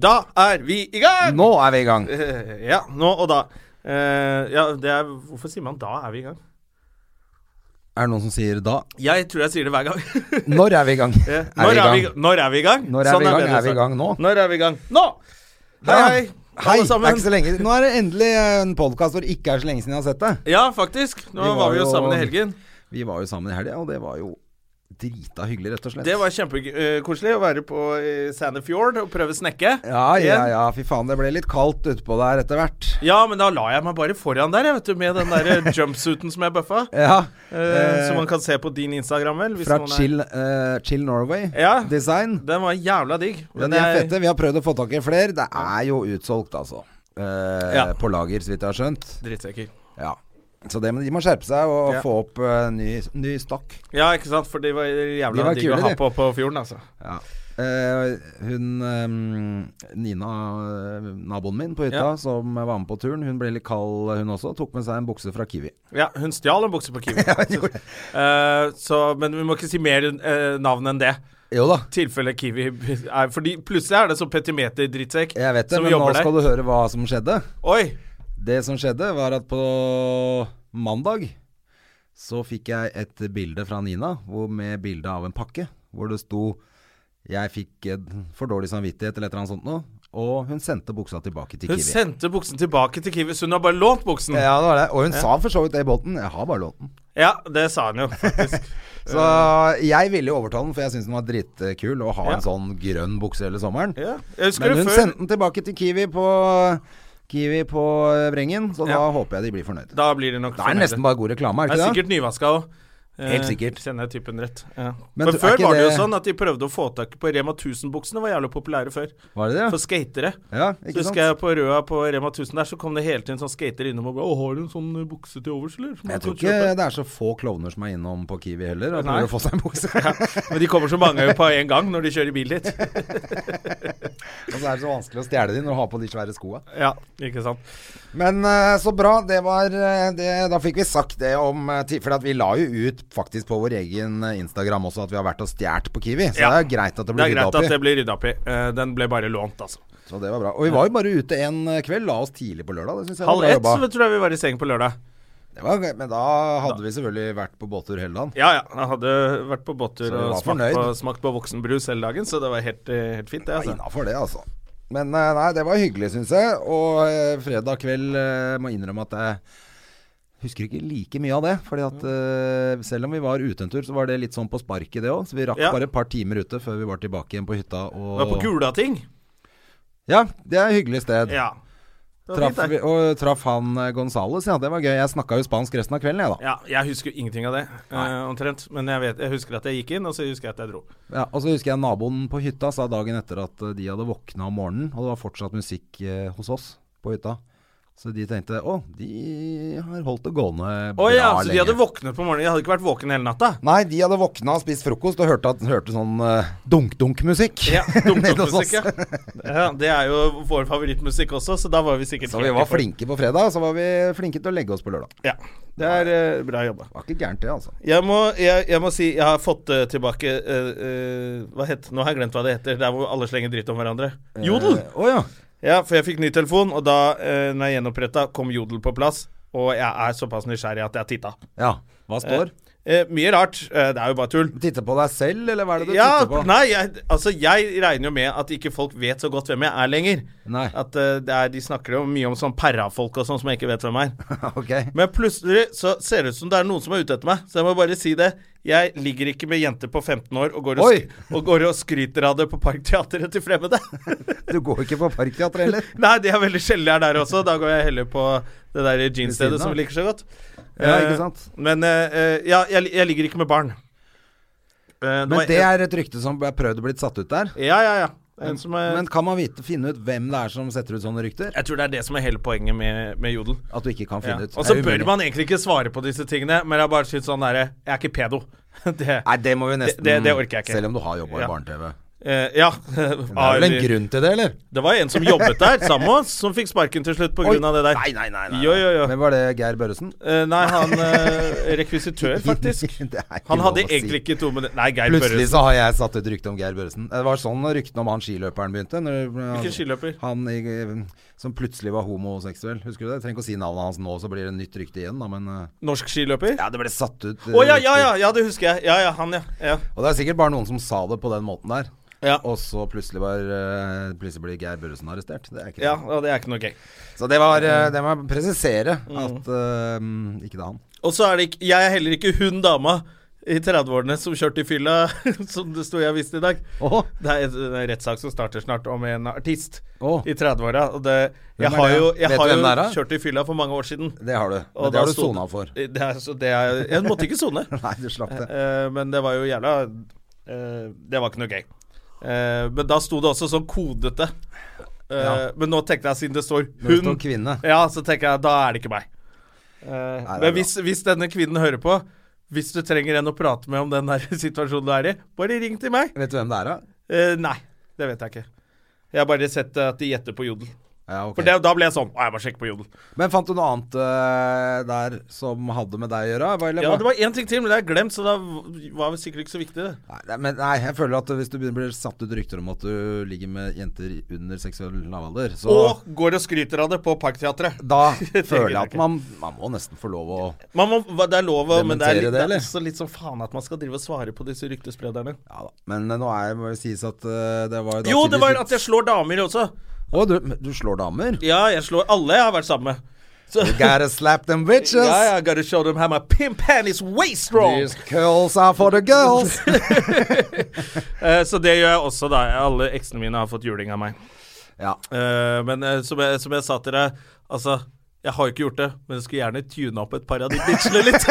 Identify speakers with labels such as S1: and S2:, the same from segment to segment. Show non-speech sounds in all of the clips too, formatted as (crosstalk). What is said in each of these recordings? S1: Da er vi i gang!
S2: Nå er vi i gang.
S1: Eh, Ja, nå og da. Eh, ja, det er Hvorfor sier man 'da er vi i gang'?
S2: Er det noen som sier da?
S1: Jeg tror jeg sier det hver gang.
S2: Når er vi i
S1: (laughs)
S2: gang?
S1: Eh, når, er vi, i gang? når er vi i gang?
S2: Når er vi i gang?
S1: bedre
S2: Er vi i
S1: sagt.
S2: gang nå?
S1: Når er vi i gang? Nå! Hei,
S2: Ja.
S1: hei,
S2: Hei,
S1: alle
S2: det er
S1: sammen.
S2: ikke så lenge. Nå er det endelig en podkast hvor det ikke er så lenge siden jeg har sett det.
S1: Ja, faktisk. Nå
S2: Vi
S1: var,
S2: var
S1: vi jo
S2: jo-
S1: sammen i helgen.
S2: Vi var jo sammen i helga, og det var jo drita hyggelig, rett og slett.
S1: Det var kjempekoselig å være på eh, Sandefjord og prøve snekke.
S2: Ja, ja, ja. Fy faen, det ble litt kaldt utpå der etter hvert.
S1: Ja, men da la jeg meg bare foran der, jeg, vet du, med den der jumpsuiten som jeg bøffa.
S2: Ja.
S1: Eh, som man
S2: eh,
S1: kan se på din Instagram, vel. hvis
S2: fra
S1: noen er-
S2: Chill, eh, Chill Norway
S1: Ja.
S2: Design.
S1: Den var jævla digg.
S2: Ja, de er fette. Vi har prøvd å få tak i flere. Det er jo utsolgt, altså. Eh,
S1: Ja.
S2: På lager, så vidt jeg har skjønt.
S1: Drittsekker.
S2: Ja. Så det, men de må skjerpe seg og
S1: Ja.
S2: få opp eh, ny, ny stokk.
S1: Ja, ikke sant, for de var
S2: De
S1: jævla
S2: var
S1: digg
S2: kule,
S1: å ha
S2: de.
S1: på på fjorden, altså.
S2: Ja. Eh, hun eh, Nina, eh, naboen min på hytta,
S1: Ja.
S2: som var med på turen, hun ble litt kald, hun også. Tok med seg en bukse fra Kiwi.
S1: Ja, hun stjal en bukse
S2: (laughs)
S1: på Kiwi. Eh, så, men vi må ikke si mer eh, navn enn det.
S2: Jo da.
S1: Tilfelle Kiwi er Fordi plutselig er det så petimeter-drittsekk
S2: Jeg vet det,
S1: som
S2: men nå
S1: jobber der.
S2: skal du høre hva som skjedde.
S1: Oi!
S2: Det som skjedde, var at på mandag så fikk jeg et bilde fra Nina hvor, med bilde av en pakke hvor det sto 'Jeg fikk en for dårlig samvittighet' eller et eller annet sånt noe. Og hun sendte buksa tilbake til
S1: Hun
S2: Kiwi.
S1: sendte buksen tilbake til Kiwi, så hun har bare lånt buksen.
S2: Ja,
S1: Ja,
S2: det var det. Og hun sa for så vidt det i båten. Jeg har bare lånt den.
S1: det sa hun jo,
S2: (laughs)
S1: faktisk.
S2: Så jeg ville jo overtale den, for jeg syns den var dritkul å ha
S1: Eh. Ja.
S2: en sånn grønn bukse hele sommeren.
S1: ja. Jeg husker
S2: Men
S1: det
S2: hun
S1: før.
S2: sendte den tilbake til Kiwi på Kiwi på eh, Vrengen, så da
S1: Ja.
S2: håper jeg de blir fornøyd.
S1: Da blir det nok
S2: Det er
S1: fornøyde.
S2: nesten bare god reklame, er det
S1: Det er
S2: ikke det?
S1: sikkert nyvaska òg.
S2: Helt sikkert.
S1: Kjenner jeg typen rett. Ja.
S2: Men
S1: Men,
S2: du- er
S1: før
S2: ikke
S1: var det jo
S2: det-
S1: sånn at de prøvde å få tak på Rema 1000-buksene. var jævlig populære før.
S2: Var det det?
S1: For skatere.
S2: Ja,
S1: Så
S2: ikke sant?
S1: husker jeg på Røa på Rema 1000 der, så kom det hele tiden sånn skater innom og ba Å, har du en sånn eh, bukse til overs, eller? Som
S2: Jeg
S1: du
S2: tror
S1: kan
S2: ikke
S1: kjøpe?»
S2: det er så få klovner som er innom på Kiwi heller og
S1: Nei.
S2: prøver å få seg en bukse.
S1: (laughs) Men de kommer så mange på en gang når de kjører bil dit.
S2: og så er det så vanskelig å stjele de når du har på de svære skoa.
S1: Ja, ikke sant.
S2: Men eh, så bra. Det var eh, det, Da fikk vi sagt det om eh, ti- For at vi la jo ut faktisk på vår egen eh, Instagram også at vi har vært og stjålet på Kiwi. Så
S1: Ja.
S2: det er jo greit at det
S1: Det
S2: blir
S1: er
S2: rydda
S1: greit
S2: opp
S1: at
S2: i.
S1: det blir rydda opp i. Eh, Den ble bare lånt, altså.
S2: Så det var bra. Og vi var jo bare ute en eh, kveld. La oss tidlig på lørdag. Det syns jeg var
S1: Halv
S2: bra
S1: ett
S2: jobba.
S1: så tror jeg vi var i seng på lørdag.
S2: Det var, gøy, men da hadde vi selvfølgelig vært på båttur hele dagen.
S1: Ja ja, jeg hadde vært på båttur
S2: Så vi
S1: og
S2: var
S1: smakt
S2: fornøyd.
S1: på, smakt på voksenbrus hele dagen, så det var helt, eh, helt fint,
S2: Det
S1: det.
S2: var
S1: Altså.
S2: innafor det, altså. Men eh, nei, det var hyggelig, syns jeg. Og eh, fredag kveld eh, må innrømme at jeg husker ikke like mye av det. Fordi at eh, selv om vi var ute en tur, så var det litt sånn på sparket, det òg. Så vi rakk
S1: Ja.
S2: bare et par timer ute før vi var tilbake igjen på hytta. Og...
S1: Det var på Gulating.
S2: Ja, det er et hyggelig sted.
S1: Ja. Det var
S2: Traff,
S1: fint, det.
S2: vi- og traff han eh, Gonzales, ja. Det var gøy. Jeg snakka jo spansk resten av kvelden, jeg, da.
S1: Ja, jeg husker ingenting av det, eh, omtrent. Men jeg, vet, jeg husker at jeg gikk inn, og så husker jeg at jeg dro.
S2: Ja, og så husker jeg naboen på hytta sa dagen etter at eh, de hadde våkna om morgenen, og det var fortsatt musikk eh, hos oss på hytta. Så de tenkte å, de har holdt det gående
S1: Å
S2: bra
S1: ja, så
S2: lenge.
S1: de hadde våknet på morgenen. Jeg hadde ikke vært våken hele natta.
S2: Nei, de hadde våkna, spist frokost og hørte, at, hørte sånn eh, dunk-dunk-musikk.
S1: (laughs) Ja,
S2: (laughs) Nede hos
S1: Dumtokmusikk,
S2: oss.
S1: ja. ja. Det er jo vår favorittmusikk også, så da var vi sikkert
S2: Så vi var
S1: for-
S2: flinke på fredag, så var vi flinke til å legge oss på lørdag.
S1: Ja. Det er eh, bra jobba.
S2: Det var ikke gærent, det, altså.
S1: Jeg må, jeg, jeg må si jeg har fått eh, tilbake eh, eh, Hva het Nå har jeg glemt hva det heter. Der hvor alle slenger dritt om hverandre. Jodel!
S2: Eh, Å ja.
S1: Ja, for jeg fikk ny telefon, og da eh, når jeg gjenoppretta, kom Jodel på plass. Og jeg er såpass nysgjerrig at jeg titta.
S2: ja. Hva står?
S1: Eh, mye rart. Eh, det er jo bare tull.
S2: Titte på deg selv, eller hva er det du
S1: Ja,
S2: titter på?
S1: nei, jeg, altså jeg regner jo med at ikke folk vet så godt hvem jeg er lenger.
S2: Nei.
S1: At eh, det er, De snakker jo mye om sånn perrafolk og sånn som jeg ikke vet hvem er.
S2: (laughs) ok.
S1: Men plutselig så ser det ut som det er noen som er ute etter meg, så jeg må bare si det. Jeg ligger ikke med jenter på 15 år og går og,
S2: Oi.
S1: sk og, går og skryter av det på Parkteatret til fremmede. (laughs)
S2: Du går ikke på Parkteatret heller?
S1: nei, de er veldig sjelden jeg er der også. Da går jeg heller på det der
S2: Ved siden
S1: jeansstedet som
S2: av.
S1: vi liker så godt.
S2: Ja,
S1: Eh,
S2: ikke sant?
S1: Men eh, eh, ja, jeg, jeg ligger ikke med barn. Eh,
S2: Men
S1: var-
S2: det er et rykte som er prøvd å blitt satt ut der.
S1: Ja, ja, ja. Det er en som er,
S2: Men kan man vite, finne ut hvem det er som setter ut sånne rykter?
S1: jeg tror det er det som er hele poenget med, med jodel.
S2: At du ikke kan
S1: Ja.
S2: finne ut.
S1: Og så
S2: Det er
S1: bør
S2: umulig.
S1: man egentlig ikke svare på disse tingene, men jeg har bare syns sånn derre Jeg er ikke pedo. (laughs) det,
S2: Nei, det må vi nesten
S1: det- det orker jeg ikke.
S2: Selv om du har jobba
S1: Ja.
S2: i barne-TV.
S1: eh, ja. (laughs)
S2: Det er vel en
S1: Ari-
S2: grunn til det, eller?
S1: Det var en som jobbet der sammen med oss, som fikk sparken til slutt pga. det der.
S2: Nei, nei, nei. nei.
S1: Jo, jo, jo.
S2: Hvem var det? Geir Børresen?
S1: Eh, nei, han eh,
S2: (laughs)
S1: rekvisitør, faktisk.
S2: Det er ikke
S1: Han
S2: lov
S1: hadde
S2: å si.
S1: egentlig ikke to minutter Nei, Geir
S2: Plutselig
S1: Børresen.
S2: så har jeg satt ut rykte om Geir Børresen. Det var sånn ryktene om han skiløperen begynte. Når,
S1: Hvilken skiløper?
S2: Han i, som plutselig var homoseksuell. Husker du det? Jeg trenger ikke å si navnet hans nå, så blir det nytt rykte igjen, da, men eh,
S1: Norsk skiløper? Å
S2: Ja, det ble satt ut. eh,
S1: ja, ja,
S2: rykter.
S1: ja, ja, det husker jeg. Ja, ja, han, ja. ja.
S2: Og det er sikkert bare noen som sa det på den måten der.
S1: Ja.
S2: Og så plutselig, var, eh, plutselig blir Geir Børresen arrestert. Det er ikke
S1: Ja, Mm.
S2: det.
S1: og det er ikke noe gøy.
S2: Så det var eh, Det må jeg presisere
S1: Mm.
S2: at eh, Ikke det er han.
S1: Og så er det ikke Jeg er heller ikke hun dama i 30-årene som kjørte i fylla, (laughs) som det sto i avisen i dag.
S2: Åh,
S1: Det er en en rettssak som starter snart om en artist
S2: Åh.
S1: i 30-åra. og det- Jeg
S2: er
S1: har
S2: det?
S1: jo, jeg
S2: Vet du
S1: har
S2: hvem det er,
S1: jo
S2: da?
S1: kjørt i fylla for mange år siden.
S2: det har du. Men
S1: Og da
S2: det har du
S1: sto
S2: sona
S1: (laughs)
S2: for.
S1: Det er, så det er, jeg måtte
S2: (laughs)
S1: ikke sone.
S2: Nei, du slapp det.
S1: Eh, men det var jo jævla eh, Det var ikke noe gøy. Eh, men da sto det også sånn kodete. Eh,
S2: Ja.
S1: Men nå tenkte jeg, siden det står
S2: Når det står
S1: hun
S2: kvinne.
S1: Ja, så tenker jeg da er det ikke meg. Eh,
S2: er bra.
S1: men hvis, hvis denne kvinnen hører på, hvis du trenger en å prate med om den der (laughs) situasjonen du er i, bare ring til meg.
S2: Vet du hvem det er, da?
S1: Eh, nei, det vet jeg ikke. Jeg har bare sett eh, at de gjetter på jodel.
S2: Ja, ok.
S1: For det, da ble jeg sånn Å, jeg må sjekke på jodel.
S2: Men fant du noe annet eh, der som hadde med deg å gjøre? hva- Eller,
S1: Ja,
S2: hva?
S1: det var én ting til, men det har jeg glemt, så da v- var det sikkert ikke så viktig. det.
S2: Nei, det- men, nei, jeg føler at hvis du begynner- blir satt ut rykter om at du ligger med jenter under seksuell lavalder, så
S1: Og går og skryter av det på Parkteatret.
S2: da
S1: (laughs) Det
S2: føler jeg
S1: gidder jeg
S2: at
S1: ikke.
S2: man, man må nesten få lov å
S1: Man må, hva- det er lov å Men det er,
S2: Dementere
S1: litt,
S2: det,
S1: det,
S2: eller?
S1: er også litt sånn faen at man skal drive og svare på disse ryktesprederne.
S2: Ja da. Men eh, nå er, må jo sies at eh, det var
S1: Jo, det var at jeg slår damer også.
S2: Å, du, men du slår damer?
S1: Ja, jeg slår alle jeg har vært sammen med. Så,
S2: You gotta slap them bitches!
S1: ja, I gotta show them how my pimp hand is way strong.
S2: These curls are for the
S1: (laughs)
S2: girls!
S1: Eh, så det gjør jeg også, da. Alle eksene mine har fått juling av meg.
S2: ja.
S1: Eh, men eh, som, jeg, som jeg sa til deg, altså Jeg har jo ikke gjort det, men jeg skulle gjerne tune opp et par av de bitchene litt.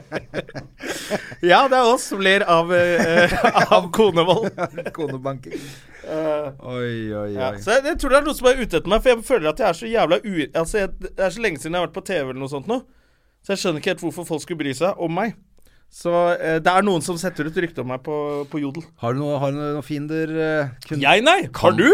S1: (laughs) ja, det er oss som ler av, eh, eh, (laughs) av konevold.
S2: Konebanking. Eh. Oi, oi,
S1: Ja,
S2: oi.
S1: så jeg, jeg tror det er noen som er ute etter meg, for jeg føler at jeg er så jævla u... Altså, jeg, det er så lenge siden jeg har vært på TV eller noe sånt nå, så jeg skjønner ikke helt hvorfor folk skulle bry seg om meg. Så eh, det er noen som setter ut rykte om meg på, på Jodel.
S2: Har du noe- har du noen noe fiender? eh, kun-
S1: Jeg, nei! Har du?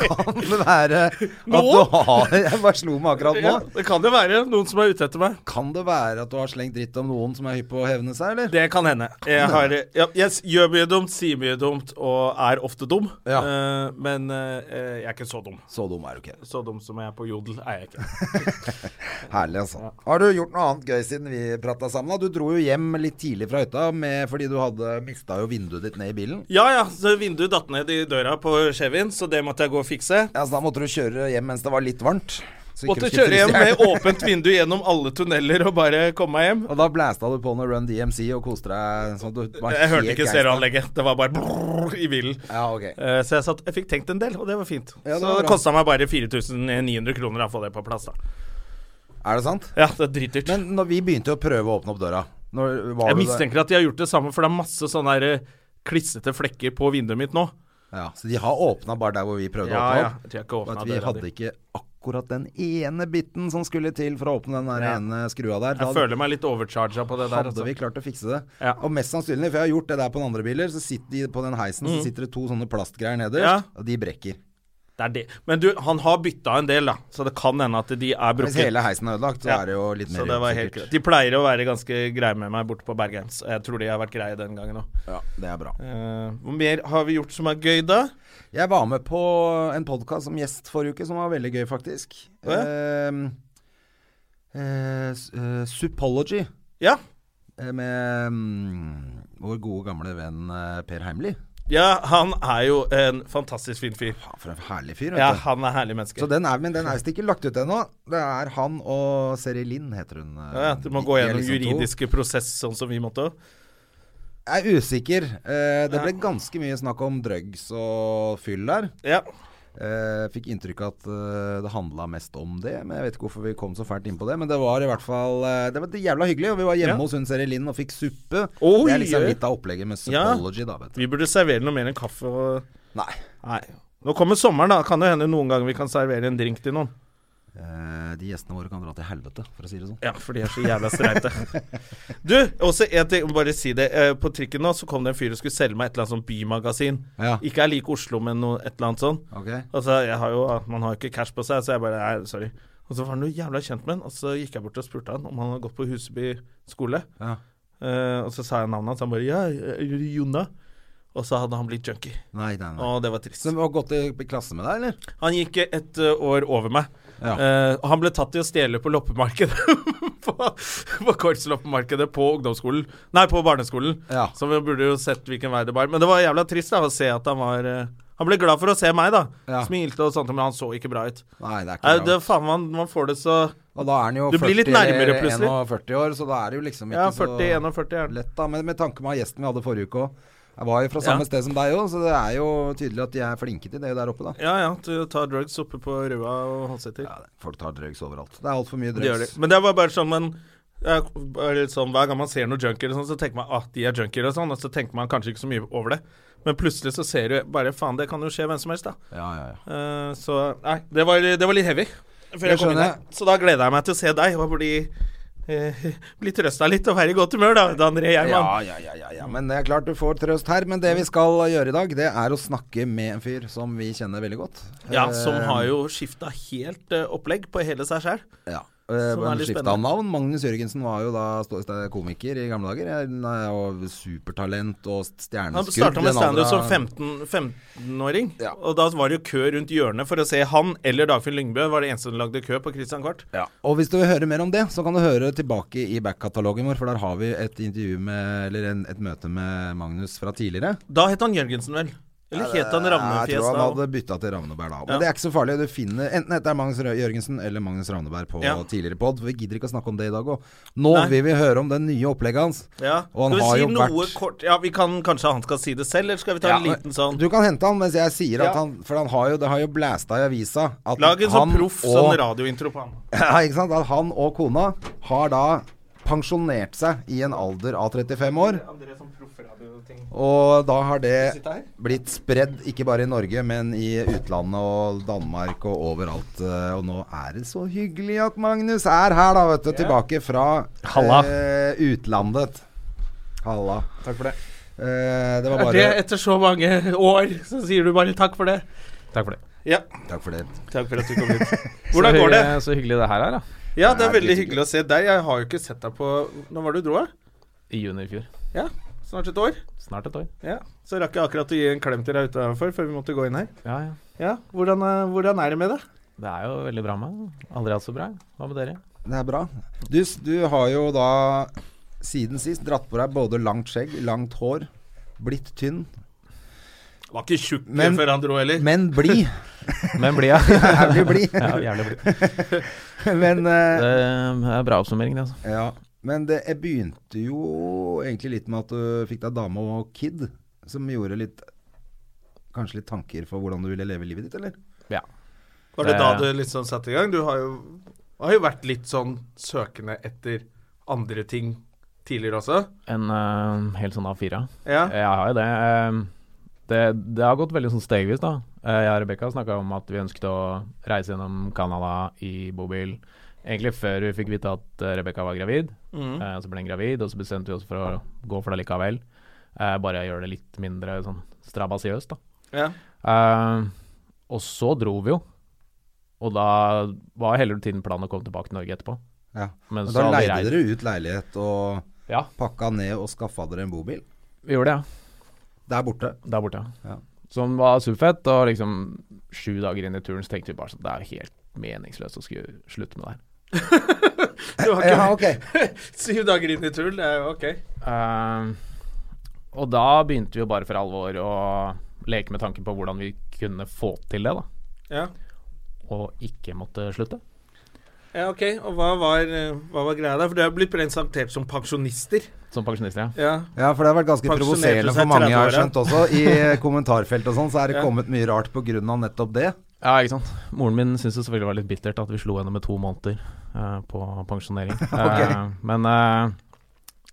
S2: Kan (laughs) det være at
S1: Nå?
S2: du har (laughs) Jeg bare slo meg akkurat nå.
S1: Ja, det kan jo være noen som er ute etter meg.
S2: Kan det være at du har slengt dritt om noen som er hypp på å hevne seg, eller?
S1: Det kan hende. Jeg,
S2: Mm.
S1: har, ja, jeg s- gjør mye dumt, sier mye dumt og er ofte dum. Eh, men eh, jeg er ikke så dum.
S2: Så dum er du ikke.
S1: Så dum som jeg er på Jodel, er jeg ikke.
S2: Herlig, altså. Har du gjort noe annet gøy siden vi prata sammen? da? Du dro jo hjem litt tidlig fra hytta med, fordi du hadde mista jo vinduet ditt ned i bilen.
S1: Ja ja, så vinduet datt ned i døra på Chevyen, så det måtte jeg gå og fikse.
S2: Ja, Så da måtte du kjøre hjem mens det var litt varmt. Så ikke
S1: Måtte
S2: du skulle
S1: kjøre hjem
S2: fryse i hjel.
S1: med åpent vindu gjennom alle tunneler og bare komme meg hjem.
S2: Og da blæsta du på noe Run DMC og koste deg sånn at du var
S1: Jeg hørte
S2: helt
S1: ikke
S2: geistet.
S1: stereoanlegget. Det var bare brrrr i bilen.
S2: Ja, ok.
S1: Eh, Så jeg, satt, jeg fikk tenkt en del, og det var fint.
S2: Ja, det
S1: så
S2: var
S1: det
S2: bra.
S1: kosta meg bare 4900 kroner å få det på plass, da.
S2: Er det sant?
S1: Ja, det er dritdyrt.
S2: Men når vi begynte å prøve å åpne opp døra når var
S1: Jeg
S2: du der?
S1: mistenker at de har gjort det samme, for det er masse sånne her eh, klissete flekker på vinduet mitt nå.
S2: Ja, Så de har åpna bare der hvor vi prøvde
S1: Ja,
S2: å åpne
S1: ja.
S2: opp?
S1: Jeg tror jeg ikke
S2: Og
S1: åpna
S2: at vi
S1: døra
S2: hadde
S1: di.
S2: ikke akkurat den ene biten som skulle til for å åpne den der
S1: Ja.
S2: ene skrua der.
S1: Jeg føler meg litt overcharga på det der.
S2: hadde
S1: altså.
S2: vi klart å fikse det.
S1: Ja.
S2: Og mest sannsynlig, for jeg har gjort det der på noen andre biler, så sitter de på den heisen så sitter det to sånne plastgreier nederst,
S1: Mm. Ja.
S2: og de brekker.
S1: Det er det. Men du, han har bytta en del, da, så det kan hende at de er
S2: Hvis
S1: brukket.
S2: hele heisen er ødelagt, så
S1: Ja.
S2: er det jo litt mer
S1: Så det var helt
S2: usikkert.
S1: greit. De pleier å være ganske greie med meg borte på Bergheims. Jeg tror de har vært greie den gangen òg.
S2: Ja, det er bra.
S1: Hvor mer har vi gjort som er gøy, da?
S2: Jeg var med på en podkast som gjest forrige uke, som var veldig gøy, faktisk.
S1: Å ja?
S2: Eh, eh, s- eh, Supology,
S1: Ja.
S2: eh, med mm, vår gode gamle venn eh, Per Heimly.
S1: ja, han er jo en fantastisk fin fyr.
S2: Faen, for en herlig fyr. vet
S1: Ja,
S2: du.
S1: han er herlig
S2: Så
S1: menneske.
S2: den er, men den er visst ikke lagt ut ennå. Det er han og Seri Linn, heter hun.
S1: Ja, ja, du må gå
S2: De er
S1: gjennom
S2: liksom to.
S1: juridiske prosess, sånn som vi måtte òg.
S2: Jeg er usikker. Eh, det ble ganske mye snakk om drugs og fyll der.
S1: Ja.
S2: Eh, fikk inntrykk av at eh, det handla mest om det, men jeg vet ikke hvorfor vi kom så fælt inn på det. Men det var i hvert fall eh, Det var jævla hyggelig, og vi var hjemme
S1: Ja.
S2: hos hun Seri Linn og fikk suppe.
S1: Oi,
S2: det er liksom
S1: oi.
S2: litt av opplegget med
S1: Ja.
S2: Supology, da, vet du.
S1: Vi burde servere noe mer enn kaffe og
S2: Nei.
S1: Nei. Nå kommer sommeren, da. Kan det hende noen ganger vi kan servere en drink til noen.
S2: Eh, de gjestene våre kan dra til helvete, for å si det sånn.
S1: Ja, for de er så jævla streite. (laughs) Du, også en ting, må bare si det. Eh, På trikken nå så kom det en fyr og skulle selge meg et eller annet sånn bymagasin.
S2: Ja.
S1: Ikke er lik Oslo, men noe, et eller annet sånn.
S2: Ok.
S1: Altså, jeg har jo, man har jo ikke cash på seg, så jeg bare Nei, sorry. Og så var han jo jævla kjent med han, og så gikk jeg bort og spurte han om han hadde gått på Huseby skole.
S2: Ja.
S1: Eh, og så sa jeg navnet hans, han bare Ja, eh, Jonna. Og så hadde han blitt junkie.
S2: Nei, nei, nei.
S1: Og det var trist.
S2: Så hun har gått i, i klasse med deg, eller?
S1: Han gikk et ø, år over meg.
S2: Ja.
S1: Eh, og han ble tatt i å stjele på loppemarkedet (laughs) På, på korpsloppemarkedet på ungdomsskolen Nei, på barneskolen.
S2: Ja.
S1: Så vi burde jo sett hvilken vei det bar. Men det var jævla trist da å se at han var eh, Han ble glad for å se meg, da.
S2: Ja.
S1: Smilte og sånt, men han så ikke bra ut.
S2: Nei, det er
S1: Nei,
S2: ikke
S1: det,
S2: bra.
S1: faen, man, man får det så
S2: Og da er han jo
S1: Du blir litt
S2: 40,
S1: nærmere plutselig.
S2: 41 år, så da er det jo liksom ikke
S1: Ja, 40-41
S2: så
S1: er det.
S2: lett, da. Men med tanke på gjesten vi hadde forrige uke òg. Jeg var jo fra samme
S1: Ja.
S2: sted som deg òg, så det er jo tydelig at de er flinke til det der oppe, da.
S1: Ja ja, du tar drugs oppe på Røa og Halseter.
S2: Ja, folk tar drugs overalt. Det er altfor mye
S1: Det gjør de.
S2: drugs.
S1: Men det var bare sånn man jeg, bare sånn, Hver gang man ser noen junkier, og sånn, så tenker man at de er junkier, og sånn, og så tenker man kanskje ikke så mye over det. Men plutselig så ser du bare Faen, det kan jo skje hvem som helst, da.
S2: Ja, ja, ja.
S1: Eh, så nei, det var, det var litt heavy. Før jeg
S2: Jeg
S1: kom inn
S2: skjønner.
S1: her. Så da gleda jeg meg til å se deg og bli, uh, (laughs) bli trøsta litt og være i godt humør, da, Dan André Gjerman.
S2: Ja, ja, ja, ja, ja. Men det er klart du får trøst her. Men det vi skal gjøre i dag, det er å snakke med en fyr som vi kjenner veldig godt.
S1: Ja, som har jo skifta helt eh, opplegg på hele seg sjæl.
S2: Ja. Eh,
S1: Som er litt
S2: Skifta
S1: spennende.
S2: navn. Magnus Jørgensen var jo da stå- st- komiker i gamle dager. eh, nei, Og supertalent og st-
S1: Han
S2: stjerneskudd.
S1: starta med
S2: Den
S1: standup som
S2: aldra-
S1: 15 15-åring,
S2: Ja.
S1: og da var det jo kø rundt hjørnet for å se han eller Dagfinn Lyngbø var det eneste som lagde kø på Christian Kvart.
S2: Ja. Og hvis du vil høre mer om det, så kan du høre tilbake i backkatalogen vår, for der har vi et intervju med, eller en, et møte med Magnus fra tidligere.
S1: Da het han Jørgensen, vel? Eller het han
S2: Jeg
S1: Ravnefjes
S2: tror
S1: da?
S2: han hadde bytta til Ravneberg da. Men
S1: Ja.
S2: det er ikke så farlig. Du finner enten etter Magnus Rø- Jørgensen eller Magnus Ravneberg på
S1: Ja.
S2: tidligere pod. Vi gidder ikke å snakke om det i dag òg. Nå
S1: Nei.
S2: vil vi høre om det nye opplegget hans.
S1: Ja.
S2: Og han
S1: skal vi
S2: har
S1: si
S2: jo
S1: noe
S2: vært-
S1: kort Ja, vi kan kanskje han skal si det selv, eller skal vi ta en
S2: Ja,
S1: liten sånn
S2: Du kan hente han mens jeg sier at
S1: Ja.
S2: han For han har jo, det har jo blæsta i avisa at
S1: Lag en
S2: han
S1: sånn proff
S2: og-
S1: sånn radiointro på han.
S2: (laughs) ja, ikke sant? At han og kona har da pensjonert seg i en alder av 35 år.
S1: André sånn proffradioting.
S2: Og da har det
S1: Sitte her?
S2: blitt spredd, ikke bare i Norge, men i utlandet og Danmark og overalt. eh, Og nå er det så hyggelig at Magnus er her, da, vet du. Tilbake fra
S1: Halla.
S2: eh, utlandet. Halla.
S1: Takk for det.
S2: Eh, det var
S3: Er det
S2: bare
S3: etter så mange år, så sier du bare takk for det? Takk for det.
S1: Ja,
S2: Takk for det.
S1: takk for at
S2: (laughs)
S1: du kom hit. Hvordan går det?
S3: Så hyggelig det her er, da.
S1: Ja, det
S2: Nei, det
S1: er
S2: er
S1: veldig
S2: litt
S1: hyggelig å se deg. Jeg har jo ikke sett deg på Når var det du dro? da?
S3: I juni i fjor.
S1: Snart et år?
S3: Snart et år.
S1: Ja, Så rakk jeg akkurat å gi en klem til deg utenfor før vi måtte gå inn her.
S3: Ja, ja.
S1: Ja, Hvordan, eh, hvordan er det med deg?
S3: Det er jo veldig bra med meg. Aldri hatt så bra. Hva med dere?
S2: Det er bra. Du, s- du har jo da siden sist dratt på deg både langt skjegg, langt hår, blitt tynn,
S1: Var ikke tjukk
S2: Men-
S1: før han dro heller.
S2: men blid.
S3: Men blid, ja.
S2: Jævlig
S1: (laughs)
S2: blid.
S3: (laughs) ja jævlig blid.
S2: Men eh,
S3: Det er bra oppsummering, det, altså.
S2: Ja, men det jeg begynte jo egentlig litt med at du fikk deg dame og kid, som gjorde litt Kanskje litt tanker for hvordan du ville leve livet ditt, eller?
S3: Ja.
S1: Var det da
S3: Det-
S1: du liksom satte i gang? Du har jo, har jo vært litt sånn søkende etter andre ting tidligere også.
S3: En eh, helt sånn A4.
S1: Ja.
S3: Jeg har jo det. Eh, det. Det har gått veldig sånn stegvis, da. Eh, jeg og Rebekka snakka om at vi ønsket å reise gjennom Canada i bobil. Egentlig før vi fikk vite at uh, Rebekka var gravid.
S1: Mm.
S3: Eh, så ble hun gravid, og så bestemte vi oss for å gå for det likevel. Eh, bare gjøre det litt mindre sånn strabasiøst, da.
S1: ja.
S3: Eh, og så dro vi jo. Og da var hele tiden planen å komme tilbake til Norge etterpå.
S2: Ja.
S3: Men
S2: Men
S3: så
S2: da
S3: hadde vi
S2: leide
S3: reid.
S2: dere ut leilighet og
S3: Ja,
S2: pakka ned og skaffa dere en bobil
S3: vi gjorde det,
S2: der borte.
S3: ja. Der borte.
S2: Ja.
S3: Som var superfett. Og liksom sju dager inn i turen så tenkte vi bare sånn Det er jo helt meningsløst å skulle slutte med det her.
S1: Du har
S2: Ja,
S1: ikke
S2: ok.
S1: (laughs) syv dager inn i tull, det er jo ok.
S3: Eh, og da begynte vi jo bare for alvor å leke med tanken på hvordan vi kunne få til det, da.
S1: Ja.
S3: Og ikke måtte slutte.
S1: ja, ok. Og hva var, eh, hva var greia der? For du er blitt presentert som pensjonister.
S3: Som pensjonister, ja.
S1: Ja.
S2: Ja, for det har vært ganske
S1: Pensjonerte
S2: provoserende
S1: seg
S2: for mange, har jeg
S1: 30-åra.
S2: skjønt også. I kommentarfelt og sånn, så er det
S1: Ja.
S2: kommet mye rart på grunn av nettopp det.
S3: Ja, ikke sant. Moren min syntes det selvfølgelig var litt bittert at vi slo henne med to måneder eh, på (laughs) pensjonering. Eh, men eh,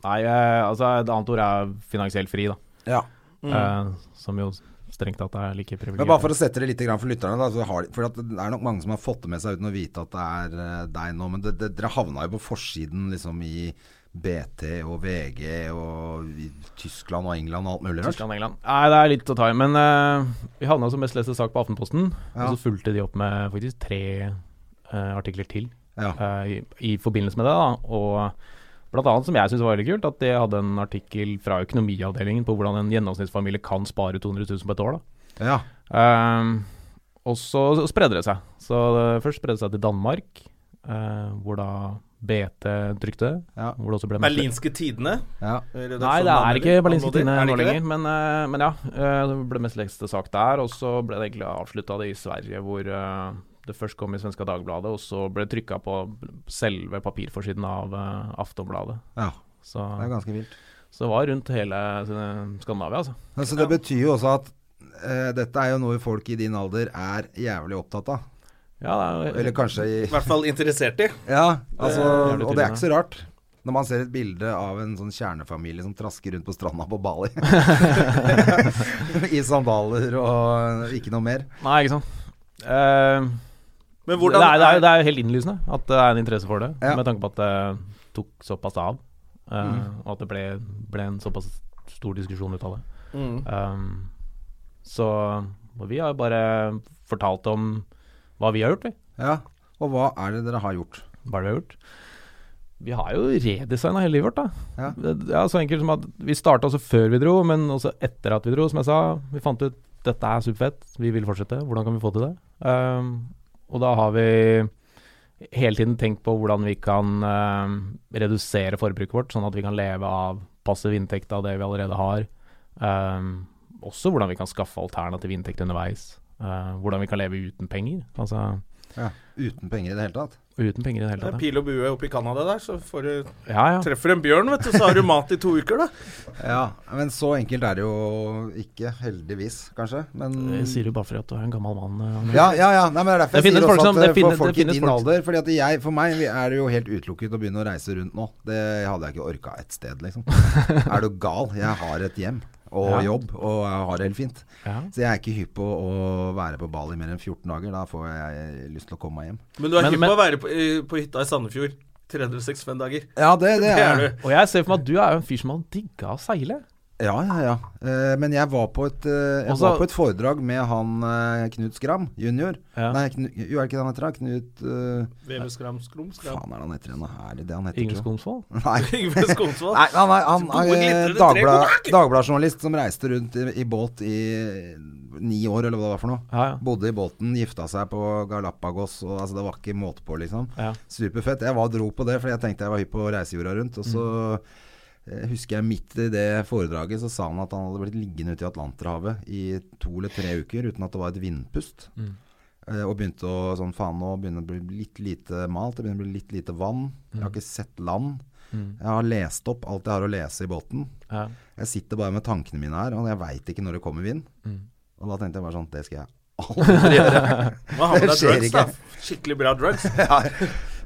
S3: nei, eh, altså et annet ord er finansielt fri, da.
S2: Ja.
S3: Eh, som jo strengt tatt er like privilegert.
S2: Men bare for å sette det litt grann for lytterne, da, så har de, for at det er nok mange som har fått det med seg uten å vite at det er eh, deg nå, men det, det, dere havna jo på forsiden liksom i BT og VG og i Tyskland og England og alt mulig rart.
S3: Tyskland, England. Nei, det er litt å ta i, men eh, vi havna som mest leste sak på Aftenposten.
S2: Ja.
S3: Og så fulgte de opp med faktisk tre eh, artikler til
S2: Ja.
S3: eh, i, i forbindelse med det. da, og Blant annet, som jeg syns var veldig kult, at de hadde en artikkel fra økonomiavdelingen på hvordan en gjennomsnittsfamilie kan spare 200 000 på et år. da.
S2: ja.
S3: Ehm, og så spredde det seg. Så det, først spredde det seg til Danmark, eh, hvor da BT trykte.
S2: Ja.
S3: Hvor det også ble
S1: Berlinske Tidene? sånn
S2: ja.
S3: Nei, det er ikke Berlinske Tidende
S1: Er det
S3: nå
S1: ikke det?
S3: lenger, men, eh, men ja. eh, det ble mest leste sak der. Og så ble det egentlig avslutta i Sverige, hvor eh, det først kom i Svenska Dagbladet, og så ble det trykka på selve papirforsiden av eh, Aftonbladet.
S2: ja.
S3: Så,
S2: Det er ganske vilt.
S3: så det var rundt hele eh, Skandinavia, altså.
S2: Men Så det betyr jo også at eh, dette er jo noe folk i din alder er jævlig opptatt av.
S3: Ja, det er,
S2: Eller kanskje i
S1: I hvert fall interessert i.
S2: Ja, altså,
S3: jævlig
S2: og det er
S3: tryggende.
S2: ikke så rart. Når man ser et bilde av en sånn kjernefamilie som trasker rundt på stranda på (laughs) Bali. I sandaler og ikke noe mer.
S3: Nei, ikke sant. Eh,
S1: Men hvordan
S3: det, er, det, er, det er helt innlysende at det er en interesse for det,
S2: Ja.
S3: med tanke på at det tok såpass av. eh, Og at det ble, ble en såpass stor diskusjon ut av det.
S1: Mm.
S3: Um, så og vi har jo bare fortalt om hva vi har gjort, vi.
S2: Ja, Og hva er det dere har gjort?
S3: Hva er det vi har gjort? Vi har jo redesigna hele livet vårt, da.
S2: Ja.
S3: Det er så enkelt som at vi starta også før vi dro, men også etter at vi dro, som jeg sa. Vi fant ut dette er superfett, vi vil fortsette, hvordan kan vi få til det? Um, og da har vi hele tiden tenkt på hvordan vi kan um, redusere forbruket vårt, sånn at vi kan leve av passiv inntekt av det vi allerede har. Um, også hvordan vi kan skaffe alternativ inntekt underveis. Uh, hvordan vi kan leve uten penger, altså
S2: Ja, uten penger i det hele tatt?
S3: uten penger i det hele
S1: Det er
S3: tatt.
S1: pil og bue oppe i Canada der, så får du,
S3: ja. Ja, ja.
S1: (laughs) treffer en bjørn, vet du, så har du mat i to uker, da.
S2: Ja, Men så enkelt er det jo ikke. Heldigvis, kanskje. Men
S3: Det sier du bare fordi at du er en gammel mann. eh, André.
S2: ja, ja, ja. Nei, men det er derfor
S3: Det
S2: jeg
S3: finnes
S2: sier
S3: folk
S2: også
S3: som-
S2: at eh,
S3: det finnes-
S2: for folk
S3: det
S2: i
S3: finnes
S2: din
S3: folk-
S2: alder Fordi at jeg, for meg er det jo helt utelukket å begynne å reise rundt nå. Det hadde jeg ikke orka et sted, liksom.
S3: (laughs)
S2: er du gal? Jeg har et hjem og
S3: Ja.
S2: jobb, og jeg har det helt fint.
S3: Ja.
S2: Så jeg er ikke hypp på å være på Bali mer enn 14 dager. Da får jeg lyst til å komme meg hjem.
S1: Men du er
S3: Men-
S1: hypp
S3: men-
S1: på å være på, i- på hytta i Sandefjord 365 dager.
S2: Ja, det, det
S1: Det er
S2: er
S1: du. (laughs)
S2: jeg.
S3: Og jeg ser for meg at du er jo en fyr som har digga å seile.
S2: Ja, ja, ja. Eh, men jeg var på et, eh, jeg
S3: Også-
S2: var på et foredrag med han eh, Knut Skram junior.
S3: Ja.
S2: Nei, Knu, jo, er det ikke det han heter? da? Knut eh,
S1: VM Skram Skrom Skram.
S2: Faen, er det han heter igjen? da? Er det det han heter?
S3: Inge
S2: tror jeg?
S3: Skomsvold.
S2: Nei.
S1: (laughs)
S3: (laughs)
S1: Yngve Skomsvold.
S2: Nei, han er, han
S1: Gode
S2: er eh,
S1: glitrende tre
S2: Dagblad-
S1: gode.
S2: Dagbladsjournalist som reiste rundt i, i båt i eh, ni år, eller hva det var for noe.
S3: Ja, ja.
S2: Bodde i båten, gifta seg på Galapagos, og altså, det var ikke måte på, liksom.
S3: Ja.
S2: Superfett. Jeg var dro på det, for jeg tenkte jeg var hypp på å reise jorda rundt. Og så eh, husker jeg midt i det foredraget så sa han at han hadde blitt liggende ute i Atlanterhavet i to eller tre uker uten at det var et vindpust.
S3: Mm.
S2: Eh, Og begynte å sånn faen nå begynner det å bli litt lite malt, det begynner å bli litt lite vann. Jeg
S3: Mm.
S2: har ikke sett land. Jeg har lest opp alt jeg har å lese i båten.
S3: Ja.
S2: Jeg sitter bare med tankene mine her, og jeg veit ikke når det kommer vind.
S3: Mm.
S2: Og da tenkte jeg bare sånn Det skal jeg aldri gjøre.
S1: Hva har med
S2: Det
S1: deg
S2: skjer
S1: drugs, da? Skikkelig bra (laughs) drugs.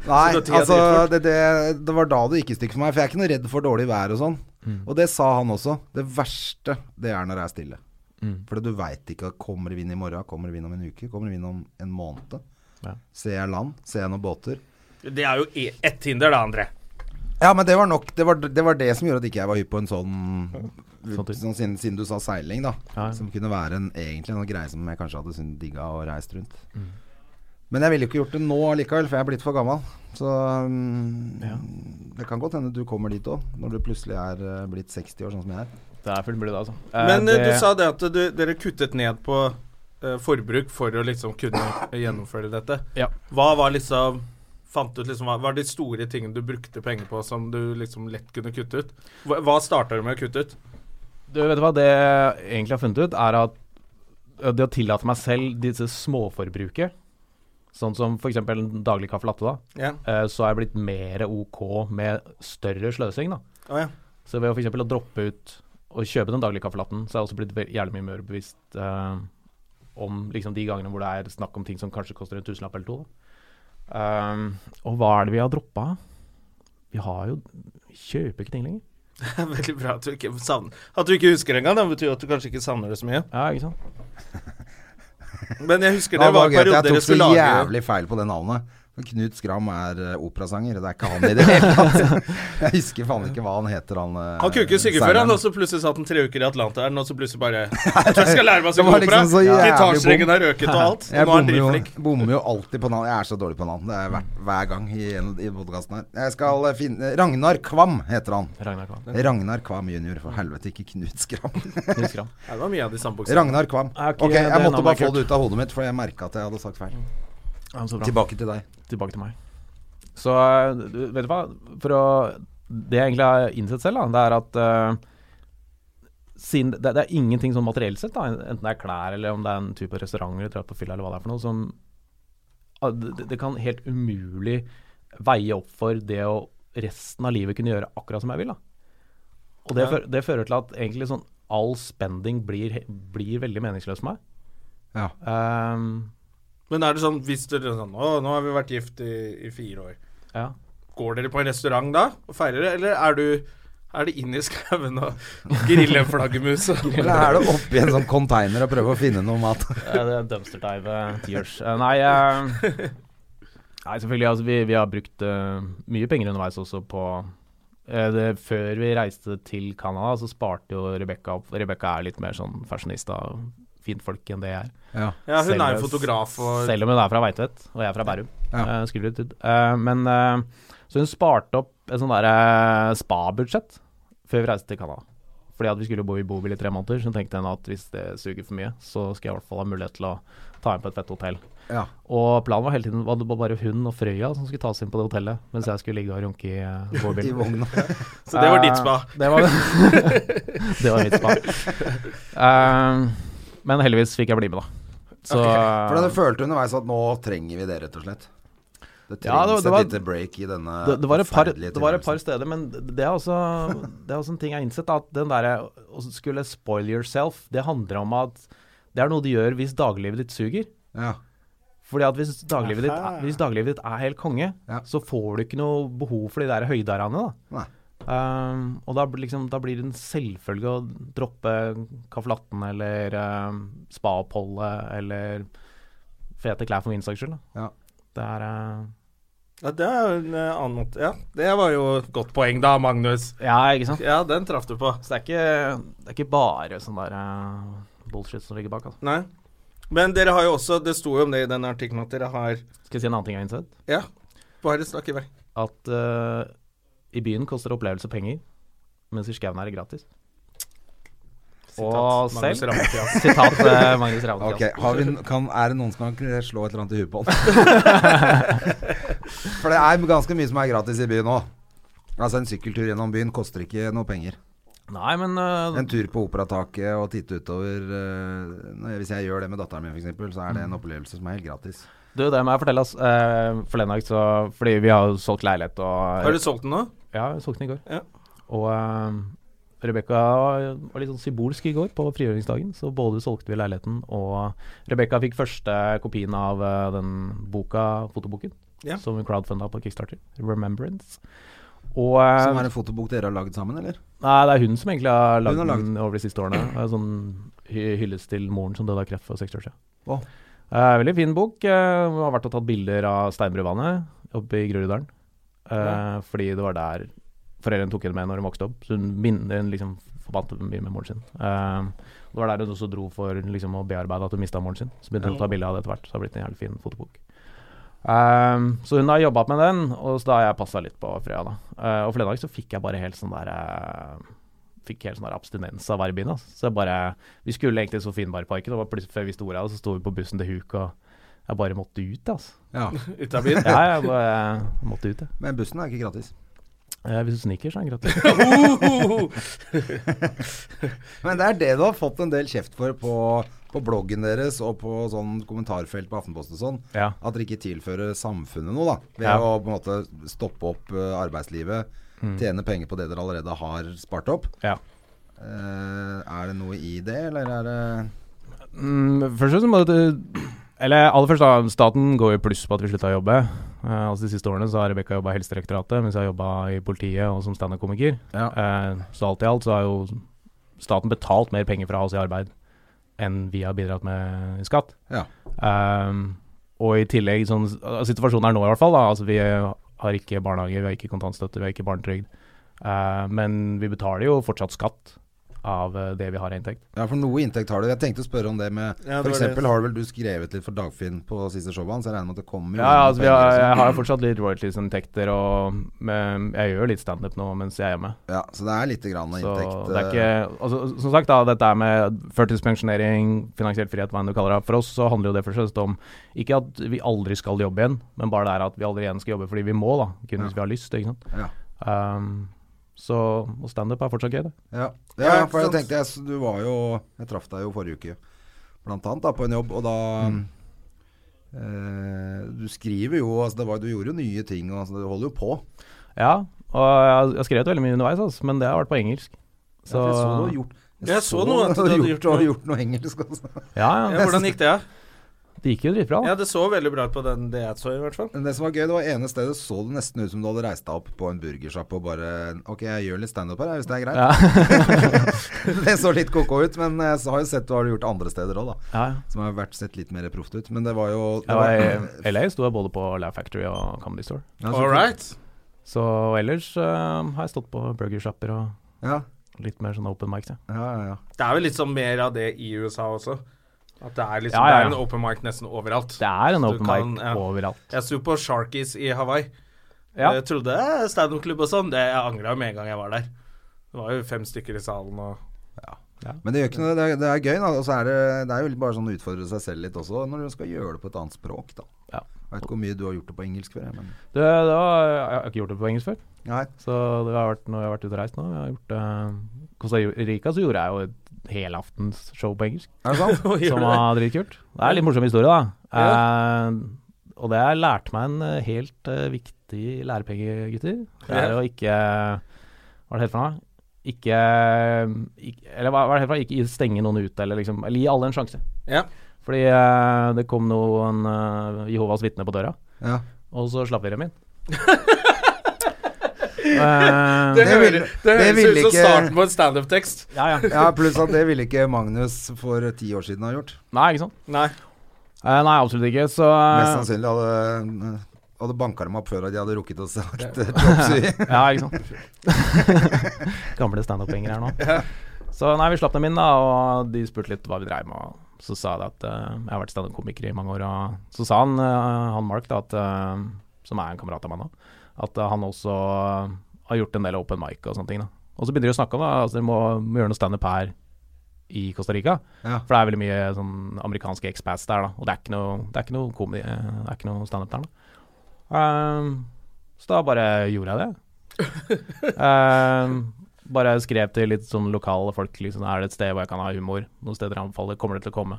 S2: Nei,
S1: Så da tida
S2: altså
S1: driver fort.
S2: det, det, det var da det gikk i stykker for meg. For jeg er ikke noe redd for dårlig vær og sånn.
S1: Mm.
S2: Og det sa han også. Det verste, det er når det er stille.
S1: Mm.
S2: For du veit ikke Kommer det vind i morgen? Kommer det vind om en uke? Kommer det vind om en måned?
S3: Ja.
S2: Ser jeg land? Ser jeg noen båter?
S1: Det er jo e- ett hinder, da, André.
S2: Ja, men det var nok Det var det, var det som gjorde at ikke jeg var hypp på en sånn,
S3: Sånn type.
S2: sånn siden, siden du sa seiling, da.
S3: Ja, ja.
S2: Som kunne være en, egentlig en greie som jeg kanskje hadde syntes digga og reist rundt.
S3: Mm.
S2: Men jeg ville jo ikke gjort det nå allikevel, for jeg er blitt for gammel. Så mm, det kan godt hende du kommer dit òg, når du plutselig er eh, blitt 60 år, sånn som jeg er.
S3: Det er fullt mulig, det, altså. Eh,
S1: Men eh,
S3: det-
S1: du sa det at du, dere kuttet ned på eh, forbruk for å liksom kunne gjennomføre dette.
S3: Ja.
S1: Hva var liksom Fant ut liksom, hva var de store tingene du brukte penger på som du liksom lett kunne kutte ut? Hva, hva starta du med å kutte ut?
S3: Du vet du hva det jeg egentlig har funnet ut, er at ø, det å tillate meg selv disse småforbruket, sånn som f.eks. en daglig kaffe latte, da,
S1: Ja.
S3: eh, så er jeg blitt mer ok med større sløsing, da.
S1: Å ja.
S3: Så ved å f.eks. å droppe ut og kjøpe den daglige kaffelatten, så er jeg også blitt ve- jævlig mye mer bevisst eh, om liksom, de gangene hvor det er snakk om ting som kanskje koster en tusenlapp eller to. Da. Um, og hva er det vi har droppa? Vi har jo vi kjøper ikke ting lenger.
S1: Det er Veldig bra at du ikke savner At du ikke husker det engang, det betyr jo at du kanskje ikke savner det så mye.
S3: Ja, ikke sant?
S1: Men jeg husker det
S2: Ja, det
S1: var
S2: var gøy at
S1: perioder
S2: jeg tok
S1: dere
S2: så
S1: skulle lage
S2: jævlig feil på det navnet. Men Knut Skram er eh, operasanger, det er ikke han i det hele tatt. (laughs) Jeg husker faen ikke hva han heter, han eh,
S1: Han kunne ikke synge før, han,
S2: sangeren.
S1: og så plutselig satt han tre uker i Atlanteren, og så plutselig
S2: (laughs)
S1: bare Jeg tror jeg skal lære meg å
S2: Det
S1: synge
S2: var
S1: opera.
S2: liksom så jævlig
S1: Gitarstrengen har røket og alt.
S2: Jeg
S1: Nå er han
S2: bommer jo,
S1: dritflink.
S2: bommer jo alltid på navn. Jeg er så dårlig på navn. Det er hver, hver gang i, en- i podkasten her. Jeg skal eh, finne Ragnar Kvam heter han.
S3: Ragnar Kvam.
S2: Ragnar Kvam jr. For helvete, ikke Knut Skram.
S3: Nils Kram.
S1: Ja, det var mye av de sandboksene.
S2: Ragnar Kvam.
S3: Er ikke
S2: Ok,
S3: det
S2: jeg måtte
S3: navnet
S2: bare få
S3: kult?
S2: det ut av hodet mitt, for jeg merka at jeg hadde sagt feil.
S3: Ja, så bra.
S2: Tilbake til deg.
S3: tilbake til meg. Så eh, du- vet du hva, for å Det jeg egentlig har innsett selv, da, det er at eh, siden det, det er ingenting sånn materielt sett, da, enten det er klær eller om det er en type restaurant eller dra på fylla eller hva det er for noe, som ah, det, det kan helt umulig veie opp for det å resten av livet kunne gjøre akkurat som jeg vil. da. Og det, fø- det fører til at egentlig sånn all spending blir, he- blir veldig meningsløs for meg.
S2: Ja.
S3: Ehm,
S1: Men er det sånn hvis dere sånn Å, nå har vi vært gift i, i fire år.
S3: ja.
S1: Går dere på en restaurant da og feirer det, eller er du er det inn i skauen og grille en flaggermus? og-
S3: (laughs)
S2: Eller er det oppi en sånn container og prøve å finne noe mat?
S3: Ja, det er dumpster dive eh, tears. Eh, Nei, eh, nei selvfølgelig. Altså, vi, vi har brukt eh, mye penger underveis også på eh, det, Før vi reiste til Canada, så sparte jo Rebekka opp. Rebekka er litt mer sånn fashionista og fint folk enn det jeg er.
S2: Ja.
S1: Ja, hun er
S3: Selv-
S1: jo fotograf og
S3: Selv om hun er fra Veitvet, og jeg er fra Bærum.
S2: Ja.
S3: eh, skulle det ut. Eh, men eh, Så hun sparte opp et sånn derre spa-budsjett før vi reiste til Canada. Fordi at vi skulle bo i bobil i tre måneder, så tenkte hun at hvis det suger for mye, så skal jeg i hvert fall ha mulighet til å ta inn på et fett hotell.
S2: ja.
S3: Og planen var hele tiden var det var bare hun og Frøya som skulle tas inn på det hotellet, mens jeg skulle ligge og runke i
S2: (laughs)
S3: eh,
S2: I
S3: bobilen.
S2: vogna.
S1: Så det var ditt
S2: Ah.
S1: spa.
S3: Eh, Det var, det (laughs) var mitt spa.
S2: (laughs)
S3: Eh, men heldigvis fikk jeg bli med, da. (laughs) Så eh,
S2: For dere følte underveis at nå trenger vi det, rett og slett. Det trengs
S3: Ja, det var- det var-
S2: et lite break i denne
S3: det, det, var et par,
S2: forferdelige
S3: det var et par
S2: tilværelsen.
S3: steder, men det er også, (laughs) det er også en ting jeg har innsett, da, at den derre å skulle spoil yourself, det handler om at det er noe du gjør hvis daglivet ditt suger.
S2: Ja.
S3: Fordi at hvis daglivet ditt, er- hvis daglivet ditt er helt konge,
S2: Ja.
S3: så får du ikke noe behov for de der høydarene, da.
S2: Nei.
S3: Um, og da, blir liksom, da blir det en selvfølge å droppe kaffelatten eller um, spa-oppholdet eller fete klær for min saks skyld. Da.
S2: Ja.
S3: Det er uh,
S1: Ja, det er jo en eh, annen måte. Ja, det var jo et godt poeng da, Magnus.
S3: Ja, ikke sant?
S1: Ja, den traff du på.
S3: Så det er ikke, det er ikke bare sånn der uh, bullshit som ligger bak. Altså.
S1: Nei. Men dere har jo også Det sto jo om det i den artikkelen at dere har
S3: Skal jeg si en annen ting jeg har innsett?
S1: Ja, bare snakk i vei.
S3: At uh, i byen koster opplevelse penger, mens i skauen er det gratis. Og
S1: Sitat, Magnus
S3: selv-
S1: Rammefjell.
S3: (laughs) Sitat eh, Magnus Ravnskjær.
S2: Ok, har vi, kan, er det noen som kan slå et eller annet i huet på han? For det er ganske mye som er gratis i byen nå. Altså En sykkeltur gjennom byen koster ikke noe penger.
S3: Nei, men eh,
S2: En tur på Operataket og titte utover eh, når jeg- Hvis jeg gjør det med datteren min, f.eks., så er det en opplevelse som er helt gratis.
S3: du, det må jeg fortelle, ass. Eh, forleden dag, så Fordi vi har jo solgt leilighet og
S1: Har du solgt den nå?
S3: Ja, jeg solgte den i går.
S1: Ja.
S3: Og eh, Rebekka var litt sånn symbolsk i går, på frigjøringsdagen. Så både solgte vi leiligheten, og Rebekka fikk første kopien av eh, den boka, fotoboken,
S1: Ja.
S3: som hun crowdfunda på Kickstarter. 'Remembrance'. Og eh,
S2: Som er en fotobok dere har lagd sammen, eller?
S3: Nei, det er hun som egentlig har lagd
S2: Hun har lagd
S3: den over de siste årene. Det er Sånn hy- hyllest til moren som døde av kreft for 60 år siden.
S2: Wow.
S3: Eh, veldig fin bok. Uh, har vært og tatt bilder av Steinbruvannet oppe i Groruddalen. Eh, Fordi det var der foreldrene tok henne med når hun vokste opp. Så hun, min, hun liksom forbandt mye med moren sin. Eh, det var der hun også dro for liksom, å bearbeide at hun mista moren sin. Så begynte hun å ta bilde av det etter hvert. Så det har blitt en jævlig fin fotobok. Ehm, så hun har jobba med den, og så da har jeg passa litt på Frøya. da. Eh, og forleden dag så fikk jeg bare helt sånn der eh, Fikk helt sånn der abstinens av å være i byen. Altså. Så jeg bare Vi skulle egentlig til Sofienbergparken, og bare plutselig før vi sto her, så sto vi på bussen til Huk, og jeg bare måtte ut, altså.
S2: Ja.
S1: Ut av byen?
S3: Ja, jeg bare måtte ut, jeg.
S2: Men bussen er ikke gratis.
S3: Eh, hvis du sniker, så er den gratis. (laughs)
S2: Men det er det du har fått en del kjeft for på, på bloggen deres og på sånn kommentarfelt på Aftenposten og sånn.
S3: Ja.
S2: At dere ikke tilfører samfunnet noe, da. Ved
S3: Ja. Mm.
S2: å på en måte stoppe opp eh, arbeidslivet. Tjene penger på det dere allerede har spart opp.
S3: ja.
S2: Eh, er det noe i det, eller er det
S3: Mm, først og fremst må det Eller aller først, da. Staten går i pluss på at vi slutta å jobbe. Eh, altså De siste årene så har Rebekka jobba i Helsedirektoratet, mens jeg har jobba i politiet og som standup-komiker.
S2: Ja.
S3: Eh, så alt i alt så har jo staten betalt mer penger fra oss i arbeid enn vi har bidratt med i skatt.
S2: Ja.
S3: Ehm, og i tillegg, sånn situasjonen er nå i hvert fall, da, altså vi har ikke barnehage, vi har ikke kontantstøtte, vi har ikke barnetrygd. Eh, men vi betaler jo fortsatt skatt av eh, det vi har i inntekt.
S2: Ja, for noe inntekt har du. Jeg tenkte å spørre om det med
S1: Ja, det
S2: For
S1: var
S2: eksempel
S1: det.
S2: har vel du skrevet litt for Dagfinn på siste showet hans. Jeg regner med at det kommer jo
S3: Ja, ja altså, vi har,
S2: penger,
S3: jeg har jo fortsatt litt royalties-inntekter, og men jeg gjør jo litt standup nå mens jeg er hjemme.
S2: så- ja, så det er litt grann
S3: Så
S2: inntekt.
S3: det er
S2: eh,
S3: ikke altså, Som sagt, da, dette er med førtidspensjonering, finansiell frihet, hva enn du kaller det. For oss så handler jo det først og fremst om ikke at vi aldri skal jobbe igjen, men bare det er at vi aldri igjen skal jobbe fordi vi må, da. Kun hvis vi har lyst, ikke sant.
S2: eh, Ja.
S3: Um, så og standup er fortsatt gøy, det.
S2: Ja, ja,
S1: Ja, ikke
S2: for jeg
S1: sant?
S2: tenkte jeg, s- du var jo Jeg traff deg jo forrige uke, blant annet, da, på en jobb, og da
S1: Mm.
S2: eh, Du skriver jo altså, det var, Du gjorde jo nye ting, og altså, du holder jo på.
S3: Ja, og jeg har- jeg har skrevet veldig mye underveis, altså, men det har vært på engelsk.
S2: Ja, for jeg så du har gjort
S1: Jeg så noe at du hadde gjort
S2: du hadde
S1: noe.
S2: gjort noe engelsk altså. også.
S3: ja, ja.
S1: Ja, hvordan gikk det? da?
S3: Det gikk jo dritbra. da.
S1: Ja, det så veldig bra ut på den det jeg så, i hvert fall.
S2: Men det som var gøy, det var ene stedet så det nesten ut som du hadde reist deg opp på en burgersjappe og bare Ok, jeg gjør litt standup her, jeg, hvis det er greit. (laughs) det så litt ko-ko ut, men jeg har jo sett du har gjort det andre steder òg, da.
S3: Ja, ja.
S2: Som har vært sett litt mer proft ut. Men det var jo det
S3: Jeg var i LA, sto jeg både på Laugh Factory og Comedy Store.
S2: Ja, så-
S1: All right.
S3: Så og ellers um, har jeg stått på burgershopper og
S2: Ja,
S3: litt mer sånn open mic. Ja.
S2: ja, ja, ja.
S1: Det er vel litt sånn mer av det i USA også. At det er liksom
S3: Ja, ja, ja.
S1: Det er en open mic nesten overalt.
S3: Det er
S1: Så
S3: en
S1: du
S3: open
S1: kan-
S3: mic
S1: ja.
S3: overalt.
S1: Jeg sto på Sharkies i Hawaii.
S3: Ja.
S1: Jeg trodde eh, standup-klubb og sånn. Det Jeg angra med en gang jeg var der. Det var jo fem stykker i salen og
S2: Men det gjør ikke noe, det er, det er gøy, da. Og så er det, det er jo bare sånn å utfordre seg selv litt også, når du skal gjøre det på et annet språk, da.
S3: Ja.
S2: Jeg vet ikke hvor mye du har gjort det på engelsk før, jeg, men
S3: Det, det var, jeg har ikke gjort det på engelsk før,
S2: Nei.
S3: så det har vært når jeg har vært ute og reist nå. Jeg har gjort eh, Costa Rica så gjorde jeg jo et helaftens show på engelsk,
S2: Er det sant?
S3: som var dritkult. Det er en litt morsom historie, da. Eh, og det har lært meg en eh, helt eh, viktig lærepenge, gutter. Det er å ikke Hva er det helt for noe? Ikke, ikke Eller hva hva er det helt for noe? Ikke stenge noen ute, eller liksom Eller gi alle en sjanse.
S1: Ja.
S3: Fordi eh, det kom noen eh, Jehovas vitner på døra,
S2: Ja.
S3: og så slapp vi dem inn. Eh,
S1: Det, hører-
S2: ville-
S1: det,
S2: det
S1: høres
S2: ville
S1: ut som
S2: ikke-
S1: starten på en standup-tekst.
S3: ja, ja.
S2: ja, pluss at det ville ikke Magnus for ti år siden ha gjort.
S3: Nei, ikke sant?
S1: Nei.
S3: Eh, nei, absolutt ikke. Så eh,
S2: Mest sannsynlig hadde, hadde banka dem opp før at de hadde rukket å sagt (laughs) eh,
S3: (laughs)
S2: dropsy.
S3: Ja, ikke sant. Gamle standup-penger her nå. Så nei, vi slapp dem inn, da, og de spurte litt hva vi dreiv med. Og så sa de at eh, jeg har vært standup-komiker i mange år, og så sa han, eh, han Mark, da, at, eh, som er en kamerat av meg nå, at eh, han også eh, har gjort en del open mic og sånne ting. da. Og så begynner de å snakke om da, altså, dere må, må gjøre noe standup her i Costa Rica.
S2: Ja.
S3: For det er veldig mye sånn amerikanske expats der, da. Og det er ikke noe, det er ikke noe, komedi, eh, det er ikke noe standup der, da. Ehm, så da bare gjorde jeg det. Ehm, bare skrev til litt sånn lokale folk. Liksom, er det et sted hvor jeg kan ha humor? Noen steder jeg anbefaler. Kommer det til å komme?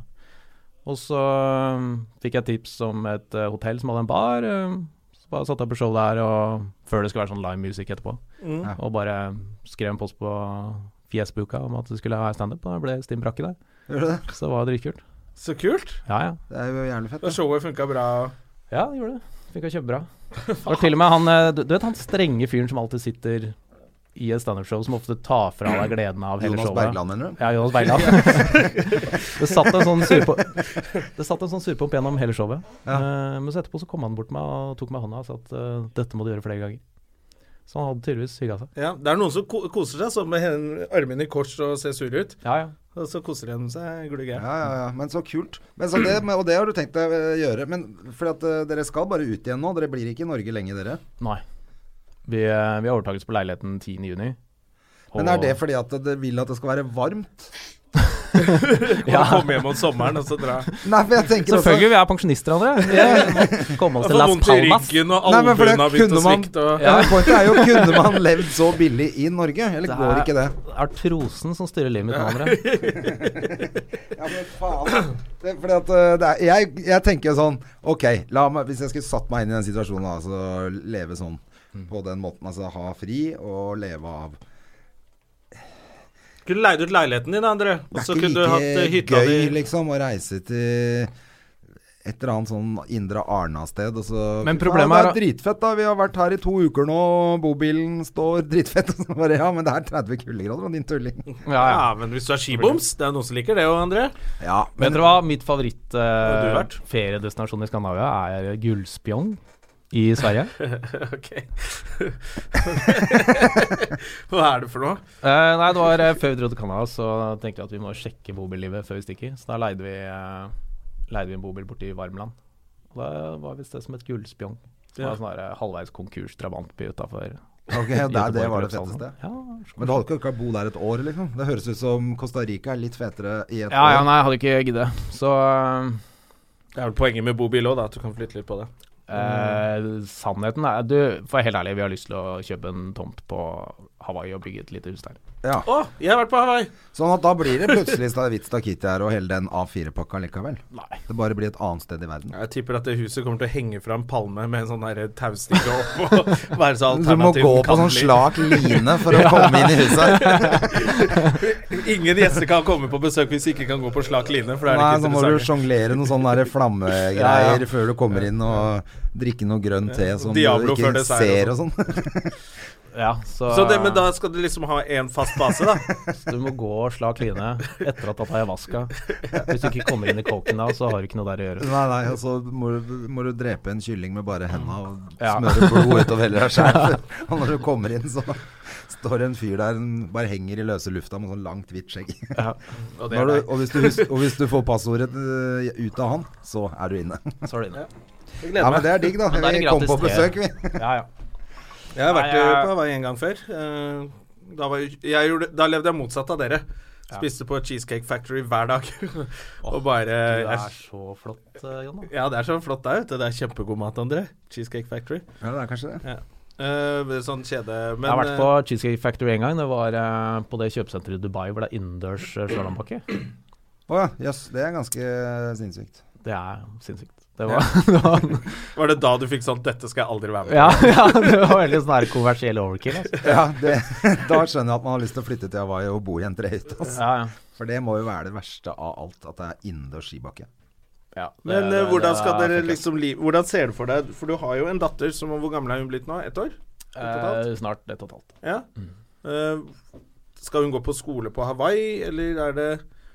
S3: Og så øhm, fikk jeg tips om et eh, hotell som hadde en bar. øhm, så bare satte jeg på show der, og før det skulle være sånn live music etterpå.
S2: Ja.
S3: Og bare skrev en post på Fjesbuka om at det skulle være standup, og det ble Stim Brakke der.
S2: Gjør du det?
S3: Så det var dritkult.
S1: Så kult.
S3: Ja, ja.
S2: Det er jo gjerne fett.
S1: Og showet funka bra.
S3: Ja, det gjorde det. Funka kjempebra. Det var til (laughs) og med han eh, Du du vet han strenge fyren som alltid sitter i et standup-show, som ofte tar fra deg gleden av hele
S2: Jonas
S3: showet?
S2: Bergland, mener du?
S3: Ja, Jonas Bergland.
S2: (laughs)
S3: (laughs) det satt en sånn surpomp Det satt en sånn surpomp gjennom hele showet. Eh, men så etterpå så kom han bort til meg og tok meg i hånda og sa at eh, dette må du gjøre flere ganger. Så han hadde tydeligvis hygga seg.
S1: Ja, det er noen som ko koser seg sånn med hen- armene i kors og ser sure ut.
S3: Ja, ja.
S1: Og så koser de seg glugg.
S2: Ja, ja, ja. Men så kult. Men så det, men, og det har du tenkt deg å eh, gjøre. Men fordi at eh, dere skal bare ut igjen nå. Dere blir ikke i Norge lenge, dere.
S3: Nei. Vi, eh, vi har overtakelse på leiligheten 10. juni.
S2: Men er det fordi at dere vil at det skal være varmt?
S1: Ja. Komme hjem om sommeren og så dra.
S2: Nei, for jeg tenker også
S3: Selvfølgelig, vi er pensjonister,
S2: (laughs)
S3: André. Vi må komme oss
S1: Og
S3: til
S1: så
S3: Las
S1: vondt i
S3: Palmas.
S1: ryggen, og
S2: Nei, men for det
S1: albuen har begynt å
S2: kunne man-
S1: svikte. Og...
S2: ja. men Pointet er jo, kunne man levd så billig i Norge? Eller
S3: Det
S2: går
S3: er-
S2: ikke det?
S3: Det er trosen som styrer livet mitt nå,
S1: (laughs)
S3: André.
S2: Ja, men faen. Det, fordi at eh, det er, jeg, jeg tenker jo sånn Ok, la meg, hvis jeg skulle satt meg inn i den situasjonen, da, altså leve
S3: Mm.
S2: sånn på den måten, altså ha fri og leve av
S1: Kunne leid ut leiligheten din, André. Og
S2: Det
S1: så
S2: er
S1: kunne du
S2: ikke
S1: hatt eh,
S2: like
S1: hytta
S2: gøy,
S1: di.
S2: liksom, å reise til et eller annet sånn indre Arna-sted, og så
S3: Men problemet
S2: ja,
S3: er-
S2: Det er dritfett, da. Vi har vært her i to uker nå, og bobilen står dritfett. (laughs) Og så bare Ja, men det er 30 kuldegrader, og din tulling.
S3: Ja, ja.
S1: Ja, men hvis du er skiboms Det er noen som liker det òg, André.
S2: Ja,
S3: Men
S2: men
S3: vet dere hva, mitt
S1: Hvor har du vært?
S3: favoritt-feriedestinasjon i Skandinavia er Gullspjong i
S1: (laughs)
S3: Sverige.
S1: ok. Hva er det for noe?
S3: Eh, nei, det var eh, før vi dro til Canada, så tenkte vi at vi må sjekke bobillivet før vi stikker. Så da leide vi, eh, leide vi en bobil borte i Varmland. Og da var vi et sted som het Gullspjong. Som var en sånn der halvveis konkurs drabantby utafor
S2: (laughs) ok, det, det var det fetteste.
S3: Ja,
S2: Men du hadde ikke orka å bo der et år, liksom? Det høres ut som Costa Rica er litt fetere i et
S3: ja, ja,
S2: år.
S3: nei, jeg hadde ikke giddet. Så eh,
S1: Det er vel poenget med bobil òg, da. At du kan flytte litt på det.
S3: Eh, sannheten er Du, for helt ærlig, vi har lyst til å kjøpe en tomt på Hawaii og bygge et lite hus der.
S1: Å, jeg har vært på Hawaii!
S2: Sånn at da blir det plutselig Stavit Stakiti her og hele den A4-pakka likevel.
S3: Nei.
S2: Det bare blir et annet sted i verden.
S1: Jeg tipper at det huset kommer til å henge fra en palme med en sånn der taustikke opp og (laughs) være så
S2: Du må
S1: alternativ
S2: gå
S1: den
S2: på
S1: kan
S2: sånn
S1: bli.
S2: slak line for å komme inn i huset.
S1: Ingen gjester kan komme på besøk hvis de ikke kan gå på slak line, for da er
S2: Nei,
S1: det
S2: så
S1: ikke
S2: må du
S1: interessant.
S2: sjonglere noen sånne der
S1: Ja,
S2: flammegreier
S1: ja.
S2: før du kommer inn, og drikke noe grønn te som
S1: Diablo
S2: du
S1: før
S2: ikke
S1: dessert
S2: ser og
S1: og
S2: sånn. (laughs)
S3: Ja, så,
S1: Så det, men da skal du liksom ha én fast base, da?
S3: (laughs) Du må gå og slak line etter at Atayahuasca Hvis du ikke kommer inn i kåken da, så har du ikke noe der å gjøre.
S2: Nei, nei, og så må du, må du drepe en kylling med bare henda og
S3: Ja.
S2: smøre blod utover hele deg sjæl. Og når du kommer inn, så står det en fyr der som bare henger i løse lufta med sånn langt, hvitt skjegg.
S1: Og det
S2: Når
S1: er
S2: du,
S1: deg.
S2: og, hvis du hus, og hvis du får passordet eh, ut av han, så er du inne.
S3: Så er det inne.
S1: Jeg
S2: Ja,
S1: gleder
S2: men
S1: meg.
S2: det er digg, da.
S3: Men da er det
S2: Vi kom
S3: gratis
S2: på
S3: te.
S2: besøk, vi.
S3: Ja, ja.
S1: Jeg har vært
S3: Nei, jeg-
S1: på Hawaii en gang før. Eh, Da, var, jeg- jeg gjorde, da levde jeg motsatt av dere. Spiste på Cheesecake Factory hver dag. (laughs) og
S3: Du
S1: bare
S3: er så flott, eh, Jonna.
S1: Ja, det er så flott der ute. Det er kjempegod mat, André. Cheesecake Factory.
S2: Ja, det er kanskje det.
S1: Eh, sånn kjede Men
S3: Jeg har vært på Cheesecake Factory en gang. Det var eh, på det kjøpesenteret i Dubai hvor det er innendørs eh, slalåmbakke.
S2: Å ja, jøss. Det er ganske eh, sinnssykt.
S3: Det er sinnssykt. Det var, det var
S1: eh, var det da du fikk sånn 'Dette skal jeg aldri være med på'?
S3: ja, (laughs) ja, det var veldig sånn her kommersiell overkill. Altså.
S2: Ja, det, (laughs) da skjønner jeg at man har lyst til å flytte til Hawaii og bo i en trehytte. Altså.
S3: Ja, ja.
S2: For det må jo være det verste av alt, at det er innendørs skibakke.
S3: Ja, det-
S1: Men eh,
S3: det-
S1: hvordan
S3: det
S1: skal
S3: er
S1: dere
S3: flott,
S1: liksom li Hvordan ser du for deg For du har jo en datter som Hvor gammel er hun blitt nå? Ett år?
S3: altså. Eh, snart ett og et halvt.
S1: Ja. Eh, skal hun gå på skole på Hawaii, eller er det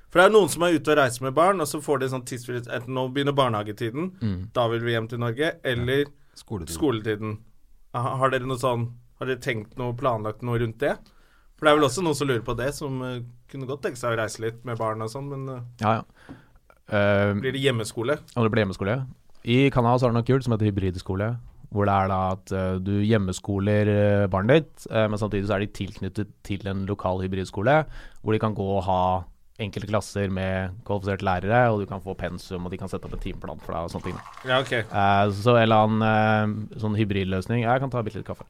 S1: For det er noen som er ute og reiser med barn, og så får de sånn tidsfrihet Enten nå begynner barnehagetiden, da vil vi hjem til Norge, eller
S2: Skoletid.
S1: skoletiden. Ha- Har dere noe sånn Har dere tenkt noe, planlagt noe rundt det? For det er vel også noen som lurer på det, som eh, kunne godt tenke seg å reise litt med barn og sånn, men eh,
S3: Ja, ja. Eh,
S1: blir det hjemmeskole?
S3: Og det ble hjemmeskole. I Canada så har det noe kult som heter hybridskole. Hvor det er da at eh, du hjemmeskoler eh, barnet ditt, eh, men samtidig så er de tilknyttet til en lokal hybridskole. Hvor de kan gå og ha enkelte klasser med kvalifiserte lærere, og du kan få pensum, og de kan sette opp en timeplan for deg og sånne ting.
S1: Ja, ok.
S3: Eh, så en eller annen eh, sånn hybridløsning Jeg kan ta bitte litt kaffe.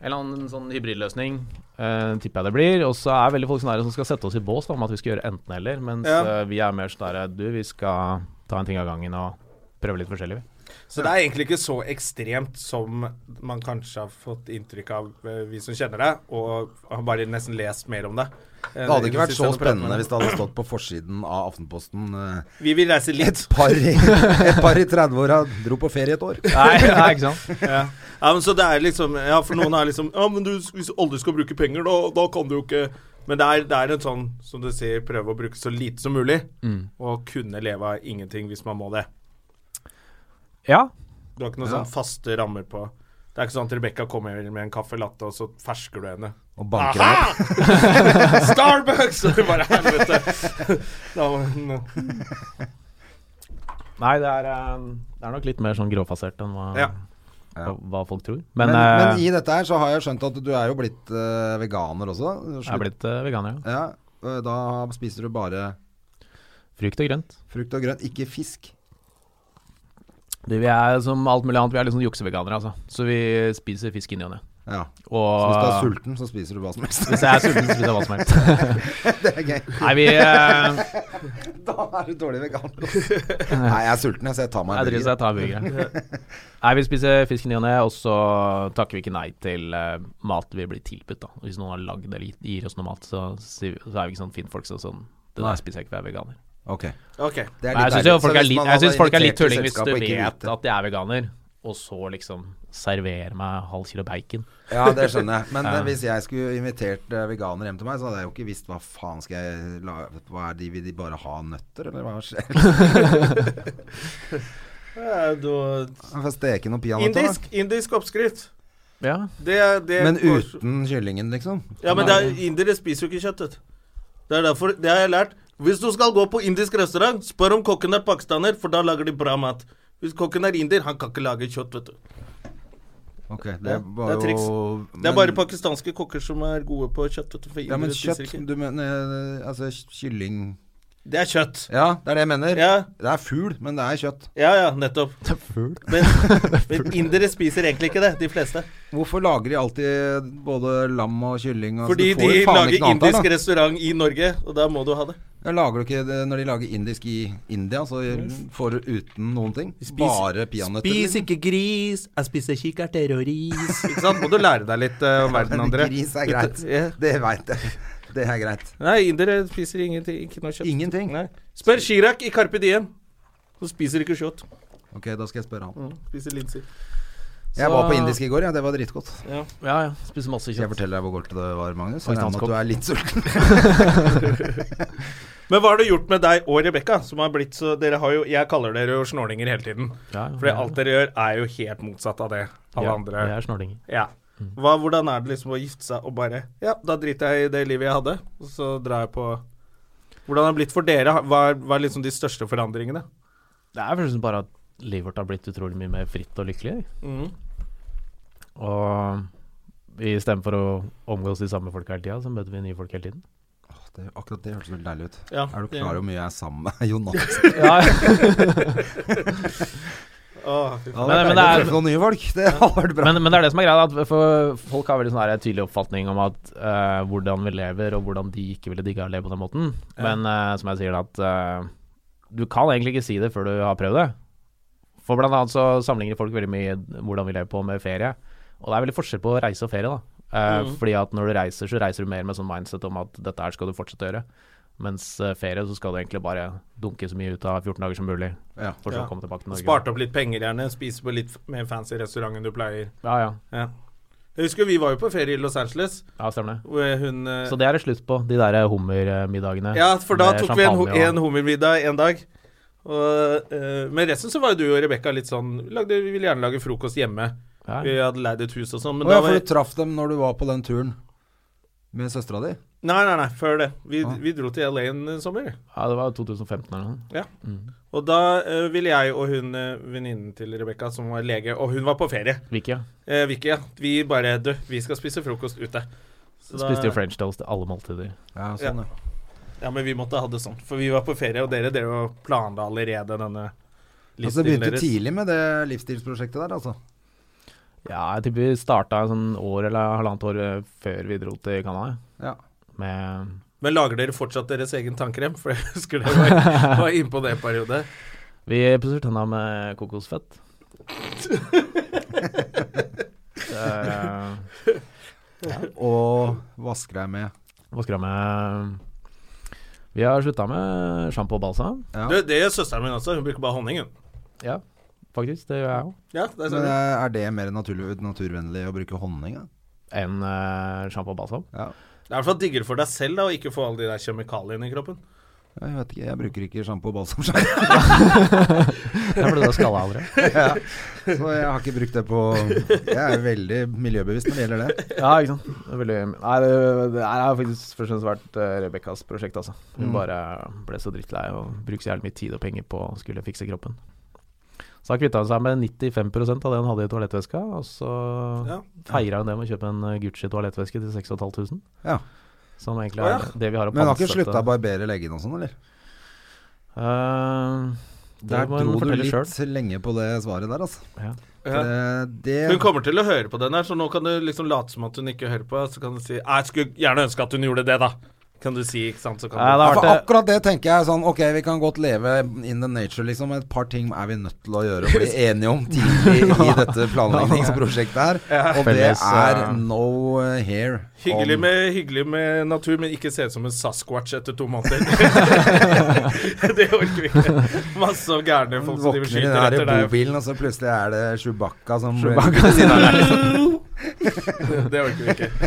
S3: En eller annen sånn hybridløsning eh, tipper jeg det blir. Og så er veldig folk sånn der som skal sette oss i bås da, om at vi skal gjøre enten-eller. Mens
S1: Ja.
S3: eh, vi er mer sånn der Du, vi skal ta en ting av gangen og prøve litt forskjellig. vi.
S1: Så det er egentlig ikke så ekstremt som man kanskje har fått inntrykk av, eh, vi som kjenner deg, og har bare nesten lest mer om det. Eh,
S2: Det hadde ikke vært så spennende hvis det hadde stått på forsiden av Aftenposten eh,
S1: Vi vil reise
S2: et
S1: litt.
S2: par i, (laughs) et par i 30-åra dro på ferie et år.
S3: Nei, ikke sant?
S1: Ja. (laughs) ja, men så det er liksom Ja, for noen er liksom Ja, men du, hvis du aldri skal bruke penger, da, da kan du jo ikke Men det er, det er en sånn, som du sier, prøve å bruke så lite som mulig, og kunne leve av ingenting hvis man må det.
S3: Ja.
S1: Du har ikke noen
S2: Ja.
S1: sånn faste rammer på Det er ikke sånn at Rebekka kommer med en kaffe latte, og så fersker du henne.
S2: Og banker henne opp.
S1: Starbucks! Og du bare helvete. Da var den, eh,
S3: Nei, det er, eh, det er nok litt mer sånn gråfasert enn hva,
S1: Ja.
S3: hva, hva folk tror.
S2: Men,
S3: Men,
S2: men
S3: eh,
S2: i dette her så har jeg skjønt at du er jo blitt eh, veganer også.
S3: jeg er blitt eh, veganer, ja.
S2: Ja, eh, da spiser du bare
S3: Frukt og grønt.
S2: frukt og grønt, ikke fisk.
S3: Du, vi er som alt mulig annet, vi er litt sånn jukseveganere, altså. Så vi spiser fisk inni og ned.
S2: Ja. Så hvis du er
S3: Og
S2: sulten, så spiser du hva som helst. (laughs)
S3: hvis jeg er sulten, så spiser jeg hva som helst.
S2: det er gøy.
S3: Nei, vi eh,
S2: (laughs) Da er du dårlig
S3: (laughs)
S2: vegan. Nei, jeg er sulten, jeg, så jeg tar meg
S3: Jeg
S2: en
S3: driter
S2: burger.
S3: seg tar burgere. Nei, vi spiser fisk i ny og ne, og så takker vi ikke nei til eh, mat vi blir tilbudt, da. Hvis noen har lagd eller gitt- gir oss noe mat, så, sier vi- så er vi ikke sånn finfolk så sånn Det der spiser jeg ikke, for jeg er veganer.
S2: Ok.
S1: Ok.
S2: Det er litt
S3: Nei, jeg syns jo
S2: deilig. Så
S3: folk er
S2: hvis
S3: litt,
S2: man
S3: jeg
S2: hadde
S3: synes folk er litt
S2: invitert til
S3: tulling hvis
S2: selskapet
S3: du
S2: og ikke
S3: vet
S2: vite-
S3: at jeg er veganer, og så liksom serverer meg halv kilo bacon.
S2: (laughs) Ja, det skjønner jeg. Men eh, hvis jeg skulle invitert eh, veganer hjem til meg, så hadde jeg jo ikke visst hva faen skal jeg la hva er de, Vil de bare ha nøtter, eller hva
S3: (laughs)
S2: skjer? (laughs)
S1: Eh, da-
S2: Jeg får steke noen peanøtter, da.
S1: Indisk, indisk oppskrift.
S3: Ja.
S1: Det, det
S2: Men
S1: går-
S2: uten kyllingen, liksom.
S1: Ja, men det er, indere spiser jo ikke kjøtt, vet du. Det er derfor Det har jeg lært. Hvis du skal gå på indisk restaurant, spør om kokken er pakistaner, for da lager de bra mat. Hvis kokken er inder, han kan ikke lage kjøtt, vet du.
S2: Ok,
S1: Ja,
S2: det var
S1: det er triks.
S2: jo
S1: Det er
S2: men-
S1: bare pakistanske kokker som er gode på kjøtt. Vet du, for
S2: Ja, men
S1: indere spiser
S2: kjøtt
S1: ikke.
S2: Du mener eh, altså kylling
S1: Det er kjøtt.
S2: Ja, det er det jeg mener.
S1: Ja,
S2: Det er fugl, men det er kjøtt.
S1: ja, ja nettopp.
S2: (laughs)
S1: Men, men indere spiser egentlig ikke det, de fleste.
S2: Hvorfor lager de alltid eh, både lam og kylling? Altså,
S1: Fordi
S2: du får
S1: de
S2: jo faen
S1: lager
S2: ikke noe annet her, da.
S1: indisk restaurant i Norge, og da må du ha det.
S2: Ja, Lager du ikke det når de lager indisk i India, så får du uten noen ting? Bare peanøtter?
S1: Spis
S2: liksom?
S1: ikke gris, jeg spiser kikkerter og ris. ikke sant? Må du lære deg litt eh, om verden,
S2: liksom? (laughs) Men
S1: André.
S2: Gris er greit.
S1: Ja.
S2: Det veit jeg. Det er greit.
S1: Nei, indere spiser ingenting. Ikke noe kjøtt.
S2: Ingenting.
S1: Nei. Spør Chirag i Carpe Diem. Så spiser ikke kjøtt.
S2: Ok, da skal jeg spørre han.
S1: Spiser linser.
S2: Jeg var på indisk i går, ja. Det var dritgodt.
S1: Ja.
S3: Ja, ja. Spiser masse
S2: Skal jeg
S3: kjøtt.
S2: fortelle deg hvor godt det var, Magnus? Jeg regner med at du er litt sulten. (laughs)
S1: Men hva har det gjort med deg og Rebekka? Som har blitt så dere har jo, Jeg kaller dere jo snorlinger hele tiden.
S3: Ja, ja.
S1: Fordi alt dere gjør, er jo helt motsatt av det alle
S3: Ja,
S1: andre
S3: Jeg er snorlinger.
S1: Ja. Hva, hvordan er det liksom å gifte seg og bare Ja, da driter jeg i det livet jeg hadde, og så drar jeg på Hvordan har det blitt for dere? Hva er, hva er liksom de største forandringene?
S3: Det er følelsen bare at livet vårt har blitt utrolig mye mer fritt og lykkelig. Og i stedet for å omgås de samme folka hele tida, så møter vi nye folk hele tiden.
S2: Det, akkurat det hørtes veldig deilig ut.
S1: Ja,
S2: Er du
S1: det-
S2: klar over hvor mye jeg er sammen med (laughs) Jonas?
S3: (laughs)
S1: Åh, fy
S2: Ja,
S1: faen.
S2: det
S3: Men-
S2: er deilig
S3: men
S2: å
S3: det er-
S2: treffe noen nye folk. Det hadde vært bra.
S3: Men, men det er det som er greia, da, at for folk har veldig sånn her tydelig oppfatning om at eh, hvordan vi lever, og hvordan de ikke ville digga å leve på den måten. Men eh, som jeg sier, da, at eh, du kan egentlig ikke si det før du har prøvd det. For blant annet så sammenligner folk veldig mye hvordan vi lever på med ferie. Og det er veldig forskjell på reise og ferie, da. Eh, Fordi at når du reiser, så reiser du mer med sånn mindset om at dette her skal du fortsette å gjøre. Mens eh, ferie, så skal du egentlig bare dunke så mye ut av 14 dager som mulig.
S2: Ja.
S3: For
S1: Ja.
S3: så å komme tilbake til Norge.
S1: Sparte opp litt penger, gjerne. Spise på litt f- mer fancy restaurant enn du pleier.
S3: Ja, ja.
S1: Ja. Jeg husker vi var jo på ferie i Los Angeles.
S3: ja stemmer det.
S1: Hvor hun eh,
S3: Så det er det slutt på, de der hummermiddagene.
S1: Ja, for da
S3: med
S1: tok vi en, ho-
S3: champagne og-
S1: en hummermiddag en dag. Og, eh, men resten så var jo du og Rebekka litt sånn vi lagde, Vi ville gjerne lage frokost hjemme.
S3: Ja.
S1: Vi hadde leid et hus og sånn. Men
S2: Å
S1: da
S2: ja,
S1: var
S2: for du traff dem når du var på den turen med søstera di?
S1: Nei, nei, nei, før det. Vi, vi dro til LA en eh, sommer.
S3: Ja, det var 2015 eller noe. Mm.
S1: Ja. Og da eh, ville jeg og hun eh, venninnen til Rebekka, som var lege, og hun var på ferie,
S3: Vicky, ja.
S1: eh, Vicky, ja. vi bare Du, vi skal spise frokost ute. Så da-
S3: Spiste jo french toast til alle måltider.
S2: Ja, sånn, ja.
S1: Ja, men vi måtte ha det sånn, for vi var på ferie, og dere dere jo planla allerede denne
S2: Altså, det
S1: livsstilen
S2: begynte
S1: deres.
S2: tidlig med det livsstilsprosjektet der, altså.
S3: Ja, jeg tipper vi starta en sånn år eller halvannet år eh, før vi dro til Canada.
S2: Ja.
S3: Med
S1: Men lager dere fortsatt deres egen tannkrem? For jeg husker dere
S2: (laughs)
S1: var, var inne på det en periode.
S3: Vi pusser tenna med
S1: (laughs)
S3: kokosfett. Eh,
S2: Og vasker deg med
S3: Hva skal jeg med Vi har slutta med sjampo og balsam.
S1: Du, det gjør søsteren min også. Hun bruker bare honning, hun.
S3: Ja, faktisk. Det gjør jeg òg.
S1: Ja, det er
S2: Men
S1: sånn.
S2: eh, er det mer naturlig, naturvennlig å bruke honning? da?
S3: Enn eh, sjampo og (laughs) balsam.
S2: Ja.
S1: Det er i hvert fall diggere for deg selv da, å ikke få alle de der kjemikaliene i kroppen.
S2: Jeg vet ikke, jeg bruker ikke sjampo og balsam sjøl.
S3: Det ble det skalla aldri.
S2: ja. Så jeg har ikke brukt det på Jeg er veldig miljøbevisst når det gjelder det.
S3: Ja, ikke sant. Det er veldig, nei, det, det her har faktisk først og fremst vært eh, Rebekkas prosjekt, altså. Hun bare ble så drittlei og brukte så jævlig mye tid og penger på å skulle fikse kroppen. Så da kvitta hun seg med 95 av det hun hadde i toalettveska, og så
S1: Ja.
S3: feira hun det med å kjøpe en eh, Gucci toalettveske til 6500.
S2: Ja.
S3: Som egentlig
S1: Å,
S3: er
S1: ja.
S3: det vi har å
S2: Men har ikke
S3: pantsette.
S2: slutta å barbere leggene og sånn, eller?
S3: Eh,
S2: Der
S3: må hun
S2: dro du
S3: fortelle
S2: litt
S3: selv.
S2: lenge på det svaret der, altså.
S3: Ja.
S1: Ja.
S2: For Det,
S1: Hun
S2: det
S1: kommer til å høre på den her, så nå kan du liksom late som at hun ikke hører på. Så kan du si «Nei, 'Jeg skulle gjerne ønske at hun gjorde det', da. Kan du si, ikke sant. Så kan
S3: Nei,
S1: du.
S3: da-
S2: ja, for
S3: vært det-
S2: akkurat det tenker jeg sånn Ok, vi kan godt leve in the nature, liksom. Et par ting er vi nødt til å gjøre (laughs) og bli enige om tidlig i (laughs) dette planleggingsprosjektet her. Og det
S3: Felles,
S2: er
S3: eh,
S2: no eh, hair.
S1: Hyggelig
S2: on-
S1: med, hyggelig med natur, men ikke se ut som en sasquatch etter to
S2: (laughs)
S1: måneder. (laughs) det orker vi ikke. Masse gærne folk som
S2: Våkner i den
S1: driver og skyter
S2: her
S1: etter deg.
S2: bobilen, og så plutselig er det Chewbacca som
S1: (laughs) Det orker vi
S3: (laughs)
S1: ikke.
S2: (laughs)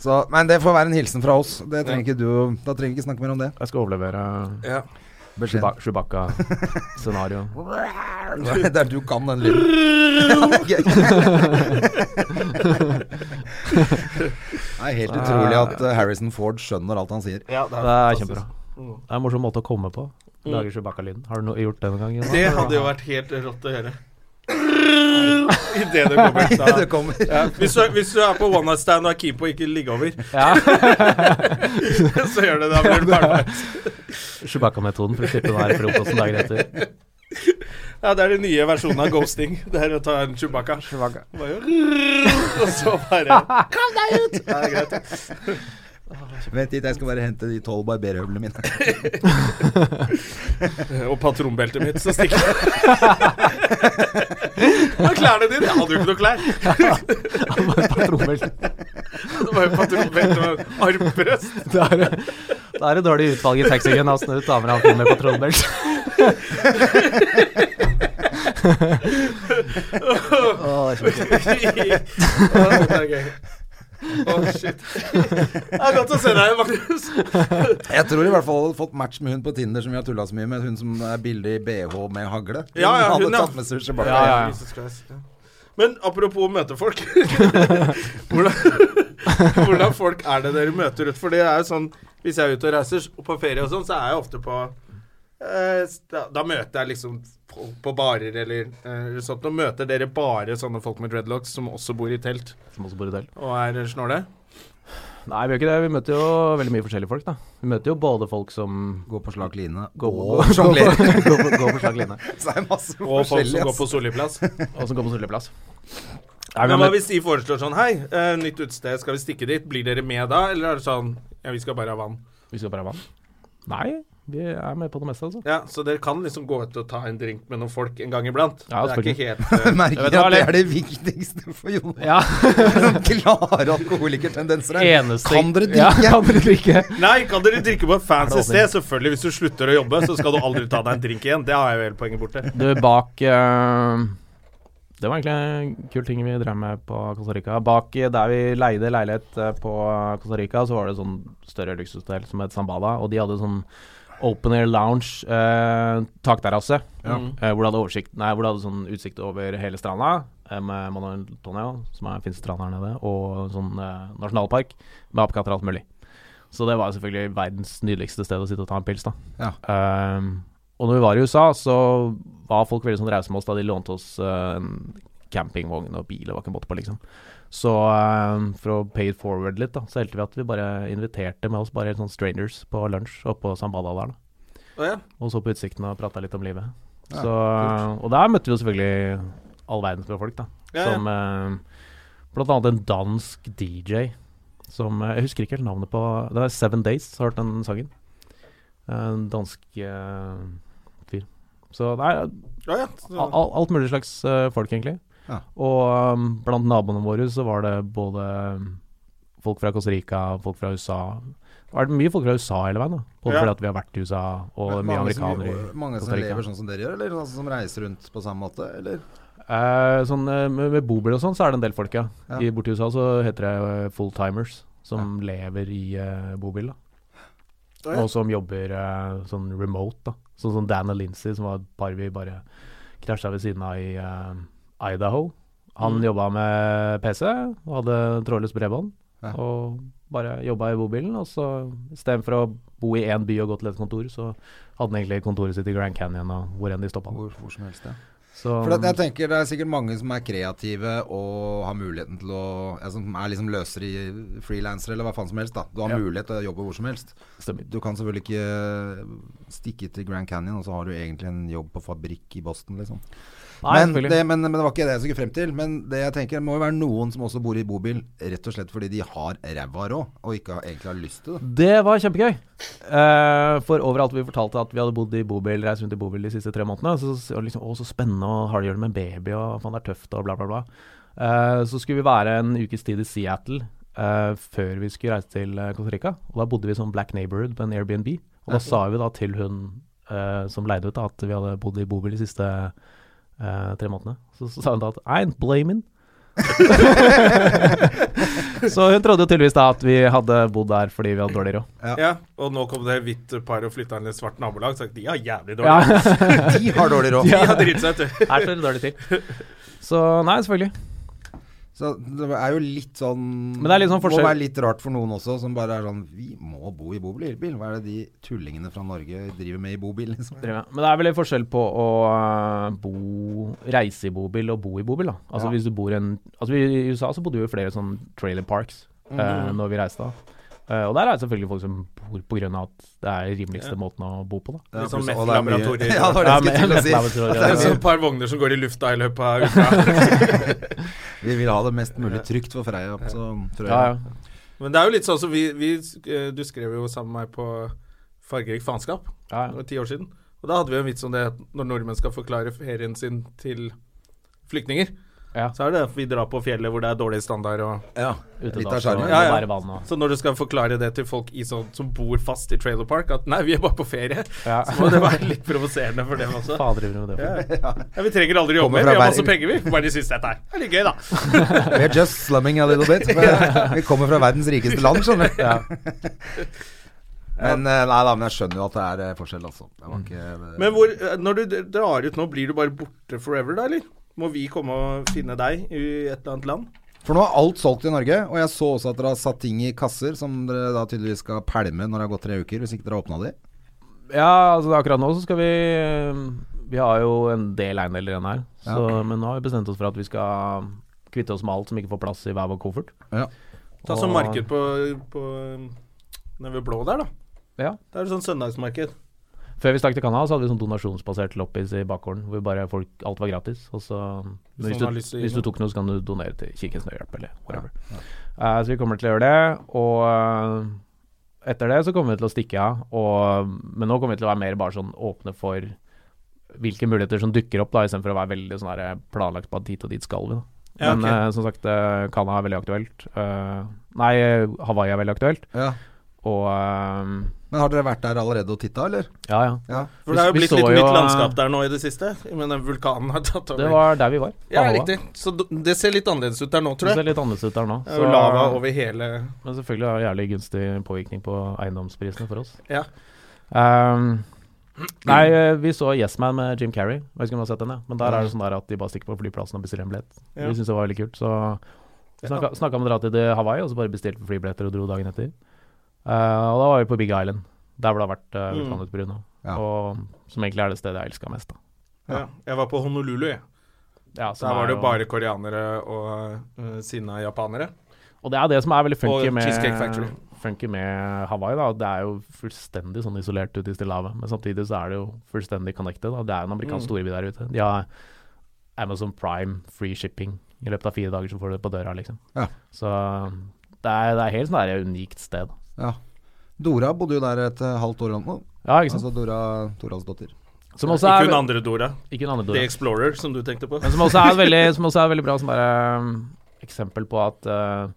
S2: så, Men det får være en hilsen fra oss. Det trenger ikke du Da trenger vi ikke snakke mer om det. (laughs)
S3: Jeg skal overlevere
S1: Ja.
S2: Beskjed.
S3: Chewba- Chewbacca-scenario.
S2: Der du kan den
S1: (laughs)
S2: lyden. (laughs) Gøy. Det er helt utrolig at eh, Harrison Ford skjønner alt han sier.
S1: Ja,
S3: Det er
S1: fantastisk. Mm.
S3: kjempebra. Det er en morsom måte å komme på. Lage Chewbacca-lyden. Har du no gjort det noen gang? Jonas?
S1: Det hadde jo vært helt rått å høre. (laughs) Idet det kommer.
S2: (laughs) Det
S1: Da.
S2: kommer
S1: Ja. Hvis, du, hvis du er på one night stand og er keen på å ikke ligge over,
S3: Ja.
S1: (laughs) så gjør det det. Da blir du ferdig.
S3: Chewbacca-metoden for å slippe den her frokosten dagen etter.
S1: Ja, det er den nye versjonen av ghosting. Det er å ta en Chewbacca. Bare, og så bare (laughs) Kom deg ut! Ja, det er greit. ja.
S2: Vent litt, jeg skal bare hente de tolv barberhøvlene
S3: (laughs)
S2: mine.
S1: Eh, Og patronbeltet mitt, så stikker jeg. (laughs) Og klærne dine. Jeg hadde jo ikke noe klær.
S3: Patronbelte.
S1: Det var jo patronbelte og armbrøst.
S3: Da er det da er det dårlig utvalg i taxien av snø damer han kommer med patronbelte.
S1: (laughs) Å, det er gøy. Å, shit. Det er godt å se deg igjen, Magnus.
S2: Jeg tror i hvert fall hadde fått match med hun på Tinder som vi har tulla så mye med. Hun som er billig i BH med hagle. Hun
S1: Ja, ja, hun,
S2: hadde
S1: ja.
S2: tatt med seg Chewbacca.
S3: Ja, ja, ja.
S1: Jesus Christ, ja. Men apropos møte folk (laughs) hvordan, hvordan folk er det dere møter ut? For det er jo sånn Hvis jeg er ute og reiser og på ferie og sånn, så er jeg ofte på eh, s- da, da møter jeg liksom folk på barer eller eh, sånt. Nå møter dere bare sånne folk med dreadlocks som også bor i telt
S3: Som også bor i del.
S1: og er snåle.
S3: Nei, vi gjør ikke det. Vi møter jo veldig mye forskjellige folk, da. Vi møter jo både folk som
S2: Gå på slak line.
S3: går på,
S2: og sjonglerer.
S3: går på, går på slag linje,
S2: (laughs) Så er det masse
S1: Og folk
S2: forskjellig.
S1: som går
S2: ass.
S1: på Solli (laughs) plass.
S3: og som går på stilleplass.
S1: Men hva hvis de foreslår sånn Hei, eh, nytt utested, skal vi stikke dit? Blir dere med da? Eller er det sånn Ja, vi skal bare ha vann.
S3: Vi skal bare ha vann. Nei, vi er med på det meste, altså.
S1: Ja, Så dere kan liksom gå ut og ta en drink med noen folk en gang iblant?
S3: Ja,
S1: det er ikke helt
S2: Jeg
S3: (laughs)
S1: eh,
S2: merker at
S3: Jeg vet hva,
S2: det
S3: Leif.
S2: er det viktigste for Jonas.
S3: Ja,
S2: Sånn klare alkoholikertendenser. her.
S3: eneste
S2: Kan dere
S3: Ja,
S2: drikke?
S3: kan dere drikke?
S1: Nei, kan dere drikke på et fancy
S3: Er det
S1: sted? Selvfølgelig. Hvis du slutter å jobbe, så skal du aldri ta deg en drink igjen. Det har jeg jo hele poenget borte.
S3: Du, bak eh, Det var egentlig en kul ting vi drev med på Costa Rica. Bak eh, der vi leide leilighet eh, på Costa Rica, så var det sånn større luksushotell som het Sambala, og de hadde sånn open air lounge, eh, takterrasse, eh, hvor du hadde oversikt Nei, hvor du hadde sånn utsikt over hele stranda, eh, med Manuel Tonio, som er finnes strand her nede, og sånn eh, nasjonalpark med apekatter og alt mulig. Så det var selvfølgelig verdens nydeligste sted å sitte og ta en pils, da.
S2: Ja.
S3: Ehm, og når vi var i USA, så var folk veldig sånn rause med oss da de lånte oss eh, en campingvogn og bil og hva ikke måtte på, liksom. Så ehm, for å pay it forward litt, da, så helte vi at vi bare inviterte med oss bare helt sånn strangers på lunsj oppå Sambala der, da.
S1: Å ja.
S3: Og så på utsikten og prata litt om livet. så, og der møtte vi jo selvfølgelig all verdens med folk, da.
S1: Ja, ja.
S3: Som eh, blant annet en dansk DJ som eh, Jeg husker ikke helt navnet på Det er Seven Days, har du hørt den sangen? En dansk eh, fyr. Så det er
S1: Å ja.
S3: al
S1: Så,
S3: al- alt mulig slags eh, folk, egentlig.
S2: Ja.
S3: Og um, blant naboene våre så var det både um, folk fra Costa Rica, folk fra USA Det har vært mye folk fra USA hele veien, da. Både
S1: Ja.
S3: fordi at vi har vært i USA, og
S2: Men
S3: mye
S2: mange som-
S3: amerikanere. i
S2: Mange som
S3: Costa Rica.
S2: lever sånn som dere gjør, eller altså, som reiser rundt på samme måte? Eller?
S3: Eh, sånn, eh, med, med bobil og sånn, så er det en del folk, ja.
S2: Ja.
S3: I, borti USA så heter det eh, fulltimers, som lever i eh, bobil, da.
S1: Å, ja.
S3: Og som jobber eh, sånn remote, da. Sånn som Dan og Lindsay, som var et par vi bare krasja ved siden av i eh, Idaho. Han
S2: Mm.
S3: jobba med PC og hadde trådløst bredbånd.
S2: Ja.
S3: Og bare jobba i bobilen. Og så istedenfor å bo i én by og gå til et kontor, så hadde han egentlig kontoret sitt i Grand Canyon og hvor enn de stoppa.
S2: Hvor, hvor som helst, ja.
S3: Så
S2: For at jeg tenker Det er sikkert mange som er kreative og har muligheten til å ja, Som er liksom løsere i frilansere eller hva faen som helst. da Du har
S3: Ja.
S2: mulighet til å jobbe hvor som helst.
S3: Stemmer.
S2: Du kan selvfølgelig ikke stikke til Grand Canyon, og så har du egentlig en jobb på fabrikk i Boston, liksom.
S3: Nei,
S2: men,
S3: selvfølgelig.
S2: det, men, men det var ikke det jeg skulle frem til. Men det jeg tenker det må jo være noen som også bor i bobil, rett og slett fordi de har ræva råd, og ikke har, egentlig har lyst til
S3: (laughs)
S2: det.
S3: Det var kjempegøy. Eh, for overalt vi fortalte at vi hadde bodd i bobil, reist rundt i bobil de siste tre månedene, så, så var det liksom, å, så spennende, og har de gjort med en baby, og faen, det er tøft, og bla, bla, bla. Eh, så skulle vi være en ukes tid i Seattle eh, før vi skulle reise til eh, Costa Rica. Og da bodde vi i sånn black neighborhood på en Airbnb. Og da sa vi da til hun eh, som leide ut, da, at vi hadde bodd i bobil de siste eh, tre månedene. Så, så sa hun da at I ain't blaming. så hun trodde jo tydeligvis da at vi hadde bodd der fordi vi hadde dårlig råd.
S1: Ja, og nå kom det hvitt par og flytta inn i et svart nabolag. Så de har jævlig dårlig
S3: (laughs) Ja.
S2: De har dårlig råd.
S1: De har dritt seg
S3: (laughs)
S1: ut.
S3: Her står det dårlig til. Så nei, selvfølgelig.
S2: Så det er jo litt sånn
S3: Men det er litt sånn forskjell-
S2: Må være litt rart for noen også, som bare er sånn Vi må bo i bobil. bil. Hva er det de tullingene fra Norge driver med i bobil, liksom?
S3: Driver med. Men det er vel litt forskjell på å øh, bo, reise i bobil og bo i bobil, da. Altså
S2: Ja.
S3: hvis du bor i en Altså vi, i USA så bodde vi i flere sånne trailer parks øh, når vi reiste da. Eh, og der er det selvfølgelig folk som bor på grunn av at det er rimeligste måten å bo på, da.
S2: Ja,
S1: Litt sånn
S2: pluss- og det er mye-
S1: meth-laboratorier.
S2: (laughs) Ja, det var det jeg
S3: Ja, (laughs)
S2: skulle til å si. At (laughs)
S1: Det
S3: meth-laboratorier,
S2: det
S1: er
S2: er
S1: sånn
S2: mye-
S1: et par vogner som går i lufta i løpet av uka.
S3: (laughs)
S2: Vi vil ha det mest mulig trygt for Freia. Så, tror jeg.
S3: Ja, ja.
S1: Men det er jo litt sånn som vi, vi eh, Du skrev jo sammen med meg på Fargerik faenskap
S3: ja,
S1: for
S3: ja.
S1: ti år siden. Og da hadde vi jo en vits om det at når nordmenn skal forklare ferien sin til flyktninger,
S3: Ja.
S1: så er det at vi drar på fjellet hvor det er dårlig standard og
S3: Ute
S2: Litt
S3: da,
S2: av
S3: så
S2: sjarmen.
S3: må
S1: Ja, ja.
S3: være vann og
S1: Så når du skal forklare det til folk i sånn, som bor fast i trailer park, at nei, vi er bare på ferie,
S3: Ja.
S1: så må det være litt provoserende for dem også.
S3: Faen driver du med det for?
S1: Ja, vi trenger aldri jobbe
S2: Kommer
S1: mer,
S2: fra
S1: vi har masse
S2: verden.
S1: penger, vi. Bare de syns dette her er litt gøy, da.
S2: We're just slumming a little
S3: (laughs)
S2: bit. Vi kommer fra verdens rikeste land, skjønner du. (laughs) Men eh, nei da, men jeg skjønner jo at det er eh, forskjell, altså. Det
S3: Mm.
S2: var ikke
S1: Men hvor, eh, når du d- drar ut nå, blir du bare borte forever da, eller? Må vi komme og finne deg i et eller annet land?
S2: For nå er alt solgt i Norge, og jeg så også at dere har satt ting i kasser som dere da tydeligvis skal pælme når det har gått tre uker, hvis ikke dere har åpna de.
S3: Ja, altså akkurat nå så skal vi eh, Vi har jo en del eiendeler igjen her. Så, Men nå har vi bestemt oss for at vi skal kvitte oss med alt som ikke får plass i hver vår koffert.
S2: Ja.
S1: Ta sånn
S3: Og-
S1: marked på, på Nede ved Blå der, da.
S3: Ja.
S1: Det er det sånn søndagsmarked.
S3: Før vi stakk til Canada, så hadde vi sånn donasjonsbasert loppis i bakgården. Hvor bare folk, alt var gratis. Og så mm,
S1: Hvis
S3: hvis,
S1: noen
S3: du,
S1: har lyst til å gi
S3: hvis du
S1: noe.
S3: tok noe, så kan du donere til Kirkens Nødhjelp eller whatever. Eh, så vi kommer til å gjøre det. Og eh, etter det så kommer vi til å stikke av. Og, men nå kommer vi til å være mer bare sånn åpne for hvilke muligheter som dukker opp, da, istedenfor å være veldig sånn der planlagt på at dit og dit skal vi. da.
S1: Ja,
S3: Men
S1: ok.
S3: eh, som sagt, eh, Canada er veldig aktuelt. Eh, nei, Hawaii er veldig aktuelt.
S2: Ja.
S3: Og eh,
S2: Men har dere vært der allerede og titta, eller?
S3: ja, ja.
S2: Ja.
S1: For det har jo
S3: Vi- vi
S1: blitt
S3: så
S1: litt
S3: jo,
S1: nytt
S3: eh,
S1: landskap der nå i det siste. Men den vulkanen har tatt over.
S3: Det var der vi var.
S1: ja,
S3: Hawaii.
S1: riktig. Så d- det ser litt annerledes ut der nå,
S3: Det
S1: tror jeg.
S3: ser litt annerledes ut der nå.
S1: Det er jo lava over hele
S3: Men selvfølgelig har det jævlig gunstig påvirkning på eiendomsprisene for oss.
S1: Ja.
S3: Ehm, nei, eh, vi så Yes Man med Jim Carrey. Jeg vet ikke om du har sett den, ja. men der er det sånn der at de bare stikker på flyplassen og bestiller en billett.
S1: Ja.
S3: Vi syntes det var veldig kult, så vi snakka snakka om å dra til det Hawaii, og så bare bestilte vi flybilletter og dro dagen etter. Eh, og da var vi på Big Island, der hvor det har vært uh, vulkanutbrudd nå.
S2: Ja.
S3: Og som egentlig er det stedet jeg elska mest, da.
S1: ja. Jeg var på Honolulu, jeg.
S3: Ja, som
S1: Der var
S3: er
S1: det
S3: jo-
S1: jo bare koreanere og uh, sinna japanere.
S3: Og det er det som er veldig funky
S1: Og Cheesecake
S3: med,
S1: Factory.
S3: funky med Hawaii. da Det er jo fullstendig sånn isolert ute i Stillehavet. Men samtidig så er det jo fullstendig connected. Da. Det er en
S1: Mm.
S3: amerikansk storby der ute. De har Amazon Prime free shipping. I løpet av fire dager så får du det på døra, liksom.
S2: Ja.
S3: Så um, det er, det er helt sånn der unikt sted.
S2: ja. Dora bodde jo der et eh, halvt år nå.
S3: Ja, ikke sant.
S2: Altså Dora, Doras datter.
S3: Som også
S1: Ikke
S3: er
S1: hun andre Dora.
S3: Ikke en annen
S1: The
S3: dora.
S1: Explorer, som du tenkte på.
S3: Men som også er et veldig, som også er et veldig bra som bare, um, eksempel på at uh,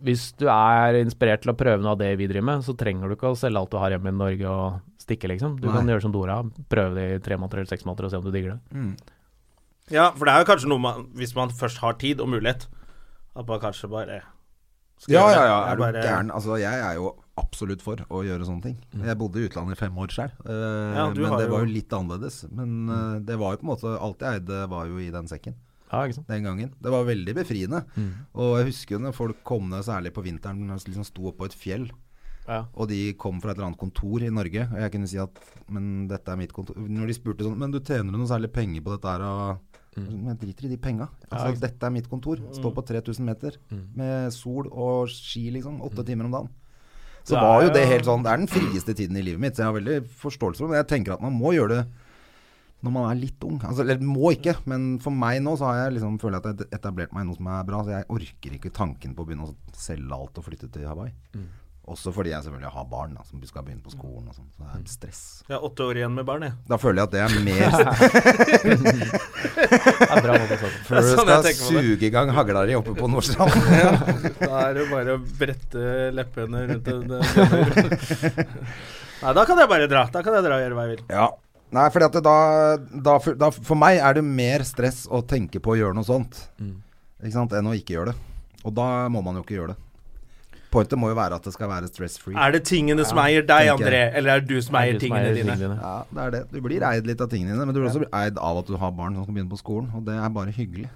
S3: hvis du er inspirert til å prøve noe av det vi driver med, så trenger du ikke å selge alt du har hjemme i Norge og stikke, liksom. Du
S2: Nei.
S3: kan gjøre som Dora, prøve det i tre måneder eller seks måneder og se om du digger det.
S1: Ja, for det er jo kanskje noe man Hvis man først har tid og mulighet, at man kanskje bare skal
S2: Ja,
S1: gjøre
S2: ja,
S1: det.
S2: ja.
S1: Jeg
S2: Er du
S1: bare-
S2: gæren? Mm. Altså, jeg er jo absolutt for å gjøre sånne ting. Jeg bodde i utlandet i fem år sjøl,
S1: Ja, du
S2: men
S1: har
S2: det
S1: jo-
S2: var jo litt annerledes. Men eh, det var jo på en måte Alt jeg eide, var jo i den sekken
S3: Ja, ikke
S1: (laughs)
S3: sant?
S2: den gangen. Det var veldig befriende. Og jeg husker jo når folk kom ned, særlig på vinteren, når de liksom sto liksom oppå et fjell.
S3: Ja.
S2: Og de kom fra et eller annet kontor i Norge, og jeg kunne si at Men dette er mitt kontor. Når de spurte sånn Men du tjener du noe særlig penger på dette her? Og,
S3: Mm.
S2: Men jeg driter i de penga. Altså, dette er mitt kontor. Stå på 3000 meter
S3: Mm.
S2: med sol og ski, liksom. Åtte timer om dagen. Så
S3: Det er
S2: var jo det
S3: jo-
S2: helt sånn Det er den frieste tiden i livet mitt, så jeg har veldig forståelse for det. Men jeg tenker at man må gjøre det når man er litt ung. Altså, eller må ikke, men for meg nå så har jeg liksom føler jeg at jeg har etablert meg i noe som er bra. Så jeg orker ikke tanken på å begynne å selge alt og flytte til Hawaii.
S3: Mm.
S2: Også fordi jeg selvfølgelig har barn da, som skal begynne på skolen og sånn. Så det
S1: Mm.
S2: er et stress.
S1: Jeg er åtte år igjen med barn, jeg.
S2: Da føler jeg at det er
S1: (laughs)
S2: mer
S3: Det er bra altså. måte å starte på.
S2: før du
S1: sånn jeg
S2: skal
S1: tenker på det.
S2: suge i gang hagla di oppe på Nordstrand.
S1: Da er det bare å brette leppene rundt en en dør. Nei, da kan jeg bare dra. Da kan jeg dra og gjøre hva jeg vil.
S2: (laughs) Ja. Nei, fordi at det da, da, for- da For meg er det mer stress å tenke på å gjøre noe sånt
S1: Mm.
S2: Ikke sant, enn å ikke gjøre det. Og da må man jo ikke gjøre det. Pointet må jo være at det skal være stress free.
S1: Er det tingene som eier deg,
S2: tenker
S1: André,
S2: jeg.
S1: eller er det du som eier
S3: Det er
S1: tingene dine?
S2: Ja, det er det. Du blir eid litt av tingene dine, men du blir også eid av at du har barn som skal begynne på skolen, og det er bare hyggelig.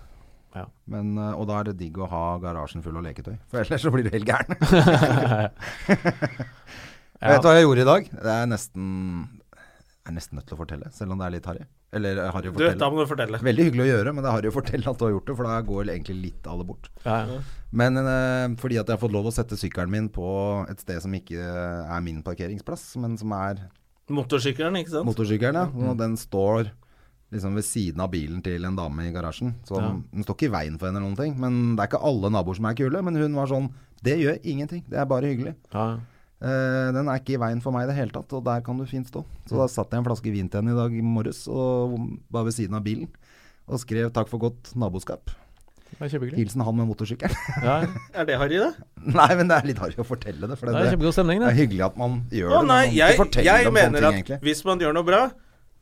S3: Ja.
S2: Men, eh, og da er det digg å ha garasjen full av leketøy, for ellers så blir du helt
S1: (laughs)
S2: gæren. (laughs) Jeg Vet du hva jeg gjorde i dag? Det er nesten Jeg er nesten nødt til å fortelle, selv om det er litt harry. Eller eh, harry å
S1: Du, da
S2: fortelle.
S1: må du fortelle.
S2: Veldig hyggelig å gjøre, men det er harry å fortelle at du har gjort det, for da går egentlig litt av det bort.
S3: Ja, ja.
S2: Men eh, fordi at jeg har fått lov å sette sykkelen min på et sted som ikke eh, er min parkeringsplass, men som er
S1: Motorsykkelen, ikke sant?
S2: Motorsykkelen, ja.
S1: Mm.
S2: Og den står liksom ved siden av bilen til en dame i garasjen. Så Den står ikke i veien for henne eller noen ting. Men det er ikke alle naboer som er kule. Men hun var sånn Det gjør ingenting. Det er bare hyggelig.
S3: Ja,
S2: Eh, den er ikke i veien for meg i det hele tatt, og der kan du fint stå. Så
S1: Mm.
S2: da satt jeg en flaske vin til henne i dag morges, og bare ved siden av bilen. Og skrev 'takk for godt naboskap'.
S3: det er kjempehyggelig.
S2: Hilsen han med motorsykkel.
S3: Ja, ja.
S1: Er det harry, det?
S2: (laughs) nei, men det er litt harry å fortelle det. For det,
S3: Det er kjempegod stemning,
S2: det er
S3: det.
S2: hyggelig at man gjør
S1: Å
S2: det, men
S1: nei,
S2: man
S1: jeg,
S2: ikke forteller
S1: jeg
S2: om sånne
S1: mener
S2: ting,
S1: at
S2: egentlig.
S1: hvis man gjør noe bra,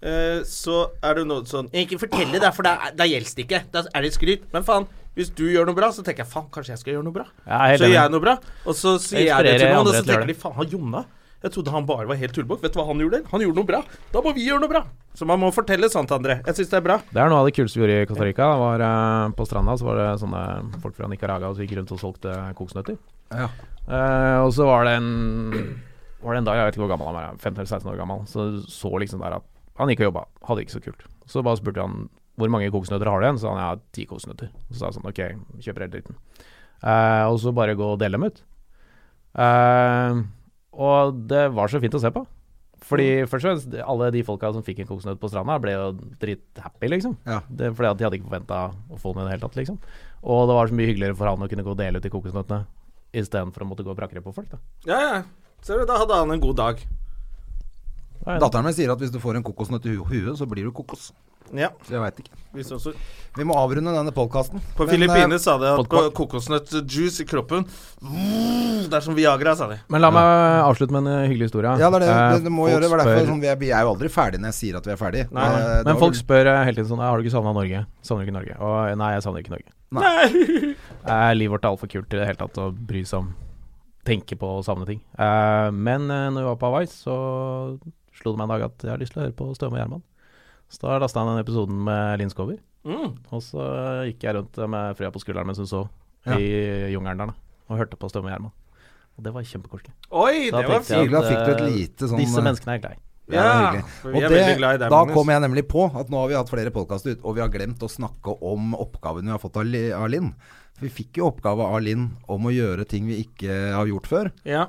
S1: eh, så er det noe sånn Ikke fortell det, da, for da, da gjelder det ikke. Da er det skryt. Men faen, hvis du gjør noe bra, så tenker jeg faen, kanskje jeg skal gjøre noe bra.
S3: Ja, jeg er helt
S1: så
S3: enig.
S1: gjør jeg noe bra, og så sier jeg det til noen,
S3: Inspirerer
S1: og
S3: andre
S1: så
S3: til å gjøre
S1: tenker de faen, han Jonna jeg trodde han bare var helt tullebukk. Vet du hva han gjorde? Han gjorde noe bra. Da må vi gjøre noe bra. Så man må fortelle sant, André. Jeg syns det er bra.
S3: Det er noe av det kuleste vi gjorde i Costa Rica. Det Var, eh, på stranda så var det sånne folk fra Nicaragua som gikk rundt og solgte kokosnøtter.
S2: Ja.
S3: Eh, og så var det en Var det en dag, jeg vet ikke hvor gammel han var, 15-16 år gammel, så så liksom der at han gikk og jobba. Hadde det ikke så kult. Så bare spurte han hvor mange kokosnøtter har du igjen, så han ja, ti kokosnøtter. Så sa jeg sånn ok, kjøper helt liten. Eh, og så bare gå og dele dem ut. Eh, og det var så fint å se på. Fordi først og fremst, alle de folka som fikk en kokosnøtt på stranda, ble jo drithappy, liksom.
S2: Ja.
S3: Det, fordi at de hadde ikke forventa å få den i det hele tatt, liksom. Og det var så mye hyggeligere for han å kunne gå og dele ut de kokosnøttene istedenfor å måtte gå og brakke det på folk, da.
S1: Ja, ja. Ser du, da hadde han en god dag.
S2: Datteren min sier at hvis du får en kokosnøtt i hu- huet, så blir du kokos.
S1: Ja.
S2: Så jeg veit ikke.
S1: Hvis også
S2: Vi må avrunde denne eh, podkasten.
S1: På Filippinene sa de at
S3: Vodka.
S1: kokosnøttjuice i kroppen mm, Det er som Viagra, sa de.
S3: Men la meg avslutte med en eh, hyggelig historie.
S2: ja, det er det, det, det må
S3: Eh, folk
S2: gjøre. det var derfor,
S3: spør-
S2: sånn, vi, er, vi er jo aldri ferdige når jeg sier at vi er ferdige.
S1: Nei, nei.
S2: Eh, det
S3: Men
S2: var
S3: folk
S2: vel-
S3: spør eh, hele tiden sånn «Ja, Har du ikke savna Norge? Savner du ikke Norge? Og nei, jeg savner ikke Norge.
S1: (laughs)
S3: Eh, livet vårt er altfor kult i det hele tatt å bry seg om tenke på å savne ting. Eh, men eh, når vi var på Hawaii, så slo det meg en dag at jeg har lyst til å høre på Støme og Gjerman. Så da lasta jeg den episoden med Linn Skåber.
S1: Mm.
S3: Og så eh, gikk jeg rundt med frøya på skulderen mens hun sov i jungelen der, da. Og hørte på Støme og Gjerman. Og det var kjempekoselig.
S1: Oi,
S3: Da
S1: det var
S3: tenkte jeg
S1: fint.
S2: fint. Hyggelig, da fikk du et
S3: eh,
S2: lite sånn,
S3: Disse
S2: eh,
S3: menneskene er jeg glad i.
S2: Ja, det er
S1: Ja,
S2: hyggelig.
S1: for vi
S2: Og
S1: er
S2: det,
S1: veldig glad i deg,
S2: da
S1: Magnus.
S2: kom jeg nemlig på at nå har vi hatt flere podkaster ut, og vi har glemt å snakke om oppgaven vi har fått av Li- av Linn. For Vi fikk jo oppgave av Linn om å gjøre ting vi ikke har gjort før.
S1: Ja.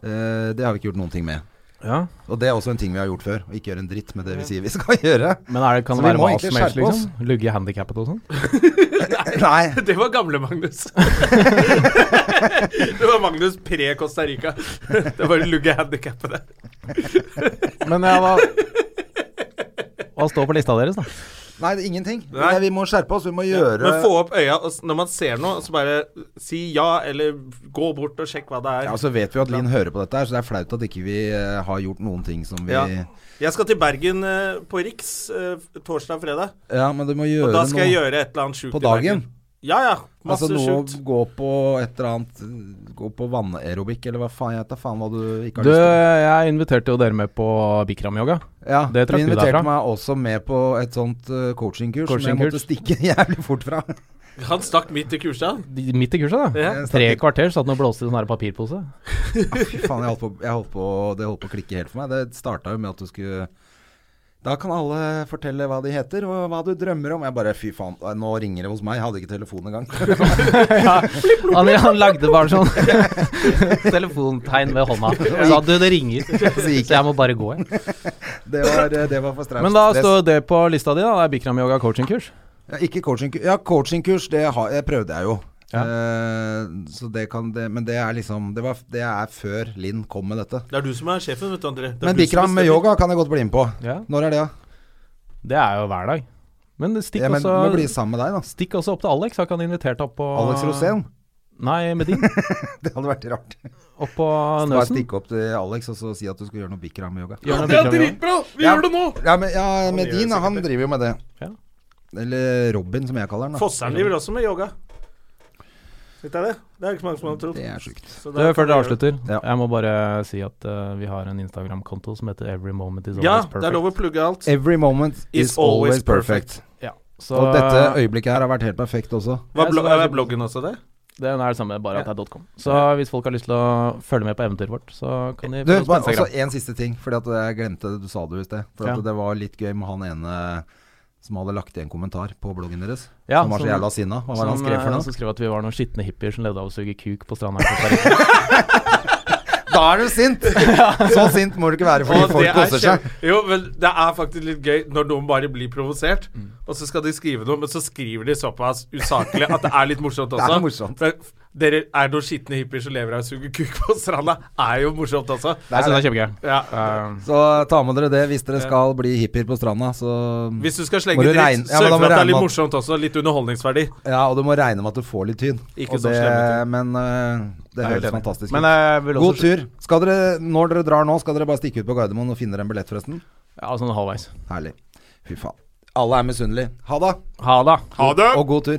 S2: Eh, det har vi ikke gjort noen ting med.
S3: Ja.
S2: Og det er også en ting vi har gjort før. Å ikke gjøre en dritt med det vi sier vi skal (laughs) gjøre.
S3: Men er det, kan
S2: Så
S3: det
S2: vi
S3: være
S2: må
S3: hva
S2: egentlig
S3: som helst,
S2: skjerpe oss.
S3: liksom? Lugge i handikappet og sånn?
S2: Nei.
S1: (laughs) Det var gamle (laughs) Magnus. det var Magnus pre Costa Rica. (laughs) Det var luggehandikappede.
S3: Men ja, hva Hva står på lista deres, da?
S2: Nei, det er ingenting.
S1: Nei.
S2: Nei, Vi må skjerpe oss. Vi må gjøre
S1: Men få opp øya og s- når man ser noe, så bare si ja, eller gå bort og sjekk hva det er.
S2: Ja, altså- så vet vi jo at Linn hører på dette her, så det er flaut at ikke vi eh, har gjort noen ting som vi
S1: Ja.
S2: Ja,
S1: Jeg skal til Bergen eh, på Riks eh, torsdag og fredag,
S2: men du må gjøre
S1: og da skal
S2: noe
S1: jeg gjøre et eller annet sjukt
S2: på
S1: i Bergen.
S2: dagen.
S1: Ja, ja. Masse
S2: Altså nå
S1: sjukt.
S2: gå på et eller annet Gå på vannaerobikk, eller hva faen jeg vet da faen hva du ikke har
S3: Du,
S2: lyst til.
S3: jeg inviterte jo dere med på Bikram-yoga.
S2: Ja,
S3: det trakk
S2: du
S3: du
S2: inviterte
S3: derfra.
S2: meg også med på et sånt eh, coachingkurs som jeg
S3: Coachingkurs.
S2: måtte stikke (laughs) jævlig fort fra.
S1: Han stakk midt i kurset, han.
S3: De- Midt i kurset, da.
S1: Ja.
S2: Jeg
S3: Tre
S2: snakker-
S3: kvarter satt han og blåste i sånn her
S2: (laughs)
S3: papirpose.
S2: Fy faen, jeg holdt, på, jeg holdt på Det holdt på å klikke helt for meg. Det starta jo med at du skulle Da kan alle fortelle hva de heter, og hva du drømmer om. Jeg bare Fy faen, nå ringer det hos meg. Jeg hadde ikke telefon engang. (laughs)
S3: Han, han lagde bare sånn telefontegn med hånda. Og sa du, det ringer. Så jeg må bare gå, jeg.
S2: det, var, eh, det var for stress.
S3: Men da
S2: stress.
S3: står det på lista di, da. Det er Bikram yoga coaching-kurs.
S2: ja, Ikke coachingkurs. Ja, coachingkurs, det, har- det prøvde jeg jo.
S3: Ja.
S2: Eh, så det kan det, Men det er liksom Det, var, det er før Linn kom med dette.
S1: Det er du som er sjefen, vet du, André. Det er
S2: Men
S1: du som
S2: Bikram
S1: bestemmer.
S2: yoga kan jeg godt bli med på.
S3: Ja,
S2: Når er det, da?
S3: det er jo hver dag. Men stikk,
S2: Ja, men må bli
S3: også,
S2: sammen med deg, da.
S3: stikk også opp til Alex. Har ikke han invitert opp på
S2: Alex Rosén. (laughs)
S3: Nei, Medin.
S2: Det hadde vært rart.
S3: Opp på
S2: Bare
S3: Nøsen.
S2: stikke opp til Alex og så si at du skulle gjøre noe Bikram yoga.
S3: Gjør noe
S1: Det er
S3: Bikram yoga.
S1: dritbra! Vi
S2: Ja.
S1: gjør det nå!
S2: Ja, men ja,
S1: gjør
S2: Medina,
S1: sikkert
S2: han
S1: det.
S2: driver jo med det.
S3: Ja.
S2: Eller Robin, som jeg kaller han. da.
S1: Fosseren driver også med yoga. Vet jeg det? Det er ikke så mange som har trodd.
S2: Det er sjukt.
S1: Så
S3: Du,
S1: da kan vi
S3: før dere
S1: gjøre det.
S3: avslutter,
S2: Ja.
S3: jeg må bare si at eh, vi har en Instagram-konto som heter Every Moment Is Always
S1: Ja,
S3: Perfect.
S1: det er lov å plugge alt.
S2: Every moment is,
S1: Is
S2: always,
S1: always
S2: perfect.
S3: Ja. Så
S2: Og dette øyeblikket her har vært helt perfekt også.
S1: Var
S3: Jeg
S1: blo
S3: så-
S1: er bloggen også det?
S3: Den er det samme, bare at
S1: Ja.
S3: det er .com. Så hvis folk har lyst til å følge med på eventyret vårt, så kan de
S2: Du,
S3: følge oss på
S2: bare også
S3: Instagram.
S2: en siste ting, fordi at jeg glemte det. Du sa det jo i sted. For
S3: Ja.
S2: at det var litt gøy med han ene som hadde lagt igjen kommentar på bloggen deres.
S3: Ja,
S2: altså, som var så
S3: som-
S2: jævla sinna. Hva var det
S3: Som,
S2: han skrev
S3: eh,
S2: for noe?
S3: som skrev at vi var noen skitne hippier som levde av å suge kuk
S2: (laughs)
S3: på stranda. her på Costa Rica.
S2: Da er du sint! Så sint må du ikke være fordi
S1: Og det
S2: folk
S1: er
S2: koser seg.
S1: kjem- Jo, men det er faktisk litt gøy når noen bare blir provosert, og så skal de skrive noe, men så skriver de såpass usaklig at det er litt morsomt
S2: (laughs)
S1: også.
S2: Det er morsomt.
S1: For dere er noen skitne hippier som lever av å suge kuk på stranda. Er jo morsomt også.
S3: Jeg synes det er kjempegøy.
S1: Ja.
S3: Eh,
S2: Så ta med dere det hvis dere skal bli hippier på stranda, så
S1: Hvis du skal
S2: Må
S1: slenge
S2: du
S1: dritt,
S2: regne- ja, men
S1: sørg
S2: da må
S1: for at det er
S2: regne med
S1: litt
S2: at-
S1: morsomt også. Litt underholdningsverdi.
S2: Ja, og du må regne med at du får litt tyn.
S1: Ikke
S2: Og
S1: så
S2: det-
S1: slemme
S2: Men eh, det
S3: jeg er altså helt
S2: høres
S3: enig.
S2: fantastisk ut.
S3: Men jeg vil
S2: God
S3: også
S2: tur. Skal dere, når dere drar nå, skal dere bare stikke ut på Gardermoen og finne dere en billett, forresten?
S3: Ja, sånn halvveis.
S2: Herlig. Fy faen. Alle er misunnelige. Ha det,
S3: Ha det!
S1: Ha det!
S2: og god tur.